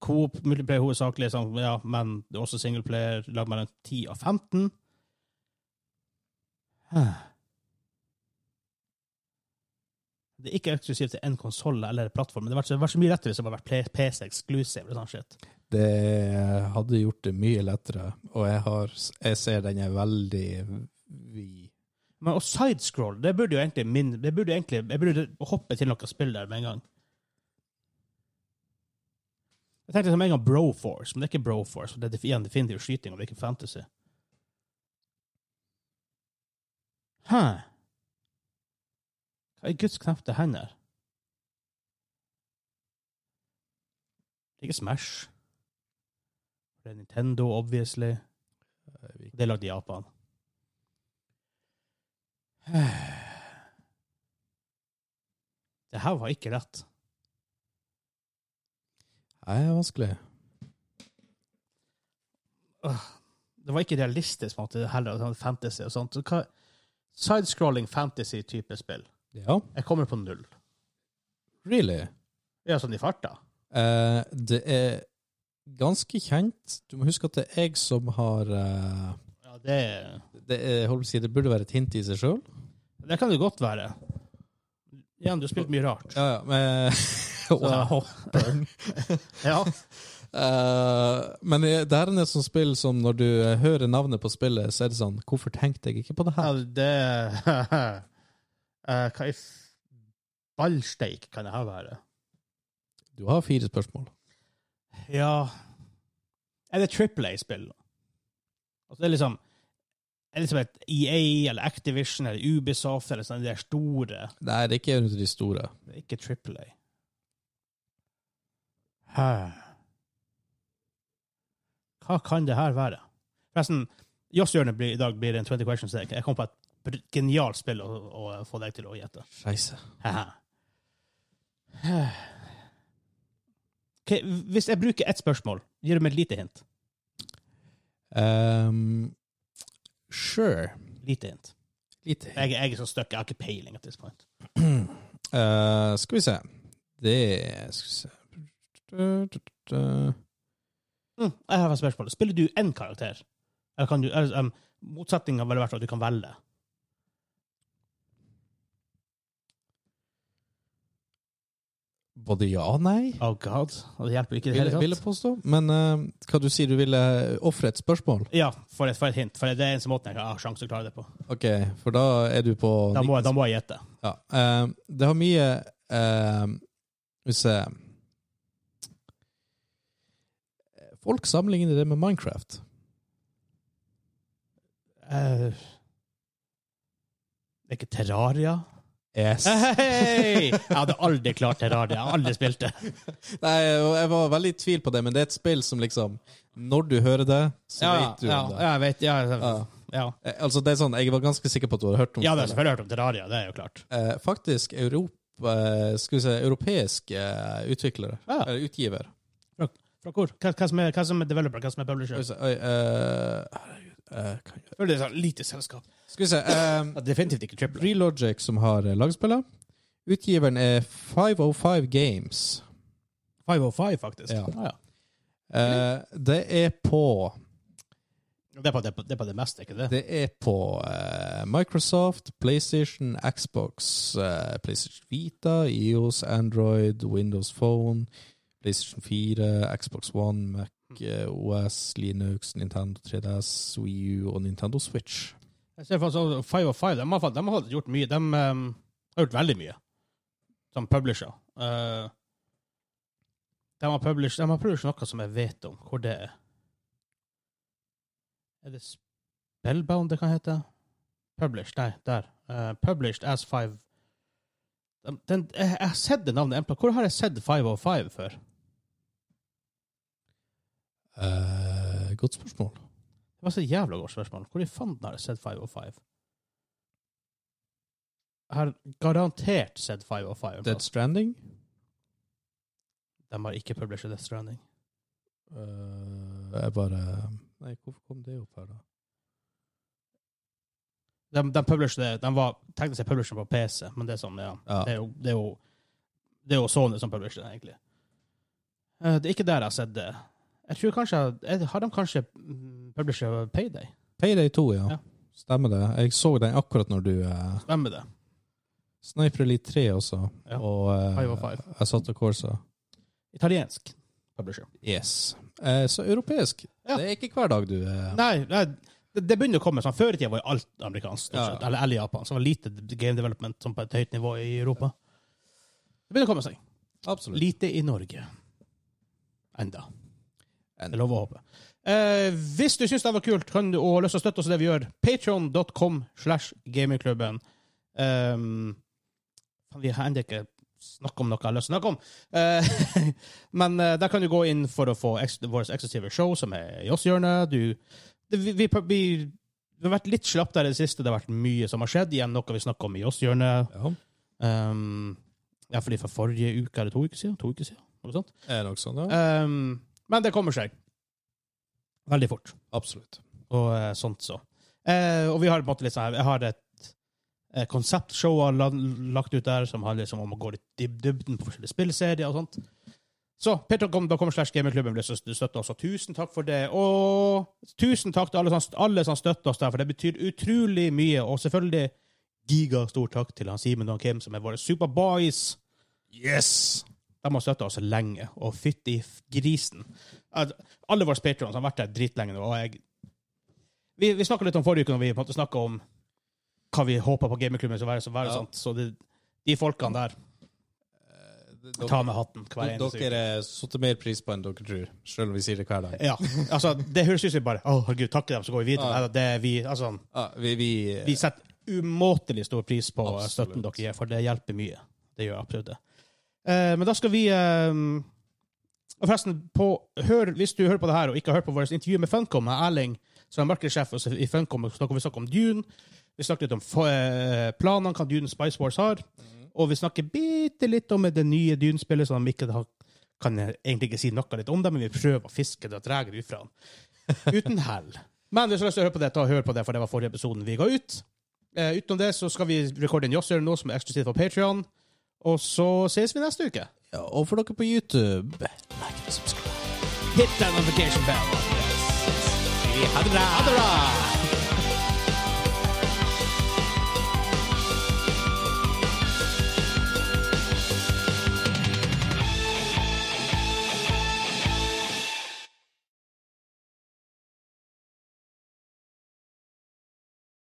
coop, multiplayer hovedsakelig, sånn, ja, men det er også singleplayer, lag mellom 10 og 15. Huh. Det er ikke eksklusivt til én konsoll eller plattform. men Det hadde vært så, det hadde vært så mye lettere hvis det bare hadde vært PC exclusive. eller sånn shit.
Det hadde gjort det mye lettere, og jeg, har, jeg ser den er veldig vid.
Men og sidescroll, det burde jo egentlig min, det burde jo egentlig, Jeg burde hoppe til noe spill der med en gang. Jeg tenkte med en gang Broforce, men det er ikke Broforce. og Det er def- igjen definitivt skyting, og det er ikke fantasy. Hæ? Hva i guds knepte hender? Det er ikke Smash.
eh,
Det er Nintendo, obviously. Det er lagd i Japan. Det her var ikke lett.
Nei, det er vanskelig.
Det var ikke realistisk på en måte heller, sånn fantasy og sånt. Så hva- Sidescrolling fantasy-type spill.
Ja.
Jeg kommer på null.
Really?
Ja, sånn i farta.
Eh, det er ganske kjent. Du må huske at det er jeg som har eh,
Ja, det,
det, er, holdt på å si, det burde være et hint i seg sjøl.
det kan det godt være. Igjen, du har spilt mye rart.
Ja, ja, men
Wow. Ja.
Eh, men det det her er et sånt spill som når du eh, hører navnet på spillet, så er det sånn Hvorfor tenkte jeg ikke på det
Ja,
her?
det Eh, Hva i f- ballsteik kan det her være?
Du har fire spørsmål.
Ja Er det Triple A-spill? Altså, det er liksom er det liksom et EA eller Activision eller Ubisoft eller sånn, de er store.
Nei, det er ikke en av de store.
Det er ikke Triple A. Hæ. Hva kan det her være? Forresten, Joss Hjørne blir, i dag blir det en 20 questions. Jeg jeg kom på et br- genialt spill å, å få deg til å gjette.
Scheisse.
Haha. Ok, hvis jeg bruker ett spørsmål, gir du meg et lite hint?
Um, sure.
Lite hint.
Litt
Jeg, jeg er så stuck, jeg har ikke peiling at this point.
Eh, skal vi se. Det Skal vi se Du, du, du, du.
Mm, jeg har et spørsmål. Spiller du én karakter? Eller kan du, eller, um, motsetningen ville vært at du kan velge.
Både ja og nei,
Oh god, og det hjelper ikke i det
vil,
hele
vil
tatt.
jeg påstå. Men eh, hva du sier du ville ofre et spørsmål?
Ja, for et, for et hint. For det er eneste måten jeg har sjanse til å klare det på.
OK, for da er du på
Da må, jeg- da må jeg gjette.
Ja. eh, det har mye eh, Skal vi se Folk sammenligner det med Minecraft.
Eh, det er ikke Terraria?
Yes.
Hei! Jeg hadde aldri klart Terraria. Jeg har aldri spilt det.
Nei, jeg var veldig i tvil på det, men det er et spill som liksom Når du hører det, så vet du
ja,
om det.
ja, jeg vet, ja, ja.
Ja.
ja.
Eh, Altså, det er sånn, Jeg var ganske sikker på at du hadde hørt om
ja, det har jeg
spillet.
selvfølgelig hørt om Terraria, det er jo klart.
Eh, faktisk Europa, eh, skal vi si, europeisk eh, utviklere.
Ja.
Eller utgiver.
Fra hvor? Hva, hva, som er, hva som er developer, hva som er
Skal
publisher?
vi se, oi, eh, herregud, eh, kan jeg-
Føler det er sånn lite selskap.
Skal vi se eh,
definitivt ikke Triple
Relogic som har eh, lagspillet. Utgiveren er 505 Games.
505, faktisk.
Ja.
Ah,
Eh, det er på
ja. Det, er på, det, er på, det er på det meste, ikke det?
Det er på eh, Microsoft, PlayStation, Xbox, eh, PlayStation Vita, EOS, Android, Windows Phone, PlayStation 4, Xbox One, Mac eh, OS, Linux, Nintendo 3DS, Wii U og Nintendo Switch.
Jeg ser for meg 505, de har, fa- de har gjort mye. De ehm, har gjort veldig mye som publisher. Eh, de har published, de har published noe som jeg vet om, hvor det er. Er det Spellbound det kan hete? Published, nei, der. Eh, published as 5... De, den, jeg, jeg har sett det navnet. en plass. Hvor har jeg sett 505 før?
Eh, godt spørsmål.
Det var så jævla godt spørsmål. Hvor i fanden har jeg sett 505? Jeg har garantert sett 505. en
Dead
plass.
Stranding?
De har ikke publisert Death Stranding.
Eh, jeg bare Nei, hvorfor kom det opp her, da?
De, de, publisher det, de var teknisk sett publisher på PC, men det er sånn, ja.
Ja.
Det, er jo, det, er jo, det er jo Sony som publisher det, egentlig. Eh, Det er ikke der jeg har sett det. Jeg tror kanskje, jeg- Har de kanskje mm, publisher Payday?
Payday 2, ja.
Ja.
Stemmer det. Jeg så den akkurat når du eh,
Stemmer det?
Sniper Elite 3 også.
Ja.
Og eh,
Five of five.
jeg satt og korsa.
Italiensk publisher.
Yes. Eh, så europeisk.
Ja.
Det er ikke hver dag du eh,
Nei, nei det, det begynner å komme sånn. Før i tida var jo alt amerikansk, stort
Ja.
sett, eller, eller Japan. Så det var lite game development sånn på et høyt nivå i Europa. Det begynner å komme seg.
Absolutt.
Lite i Norge. Enda.
Enda.
Det er lov å håpe. Eh, hvis du syns det var kult kan du, og har lyst til å støtte oss i det vi gjør, patreon.com slash gamingklubben. Um, faen, vi har ennå ikke snakket om noe jeg har lyst til å snakke om. Eh, men eh, der kan du gå inn for å få eks våre eksklusive show, som er Joss Hjørne. Du, det, vi, vi, vi det har vært litt slapp der i det siste. Det har vært mye som har skjedd. Igjen noe vi snakka om i Ås-hjørnet.
Ja,
Um, ja, fordi for forrige uke eller to uker siden. To uker siden noe sånt.
er nok sånn, ja.
Um, men det kommer seg. Veldig fort.
Absolutt.
og eh, sånt så. Eh, og vi har på en måte litt sånn her, jeg har et eh, konseptshow jeg har la- lagt ut der som handler liksom om å gå litt i dybden på forskjellige spillserier og sånt. Så patreon.com slash gamingklubben blir støtta også. Tusen takk for det. Og tusen takk til alle som, alle som støtter oss der, for det betyr utrolig mye. Og selvfølgelig gigastor takk til han Simen og Kim, som er våre superboys.
Yes!
De har støtta oss lenge, og fytti f- grisen. At Alle våre patrons har vært der dritlenge nå, og jeg Vi, vi snakka litt om forrige uke, når vi på en måte snakka om hva vi håpa på gamingklubben skulle være, så være
Ja.
sånt. Så det, de folkene der tar med hatten hver eneste uke.
Eh, Dere setter mer pris på enn dere tror, selv om vi sier det hver dag.
Ja, altså, det høres ut som vi bare Å, herregud, takke dem, så går vi videre.
Ja.
Nei, Det, er vi, altså,
Ja, Ah, vi, vi,
vi setter umåtelig stor pris på eh,
Absolutt.
støtten dere gir, for det hjelper mye. Det gjør absolutt det. Eh, men da skal vi eh, Og forresten, på, hør, hvis du hører på det her og ikke har hørt på vårt intervju med Funcom, med Erling, som er markedssjef hos- i Funcom, så snakker vi snakker om Dune. Vi snakker litt om fa- eh, planene hva Dune Spice Wars har. Og vi snakker bitte litt om det nye Dune-spillet, som de ikke har, kan jeg egentlig ikke si noe litt om det, men vi prøver å fiske det og dra det ut fra den. Uten hell. Men hvis du har lyst til å høre på det, ta og hør på det, for det var forrige episoden vi ga ut. Eh, utenom det så skal vi rekorde en jazzgjør nå som er eksklusivt på Patreon Og så ses vi neste uke.
ja, og for dere på YouTube, like and subscribe.
Hit that notification bell. Ha det bra! Ha det bra!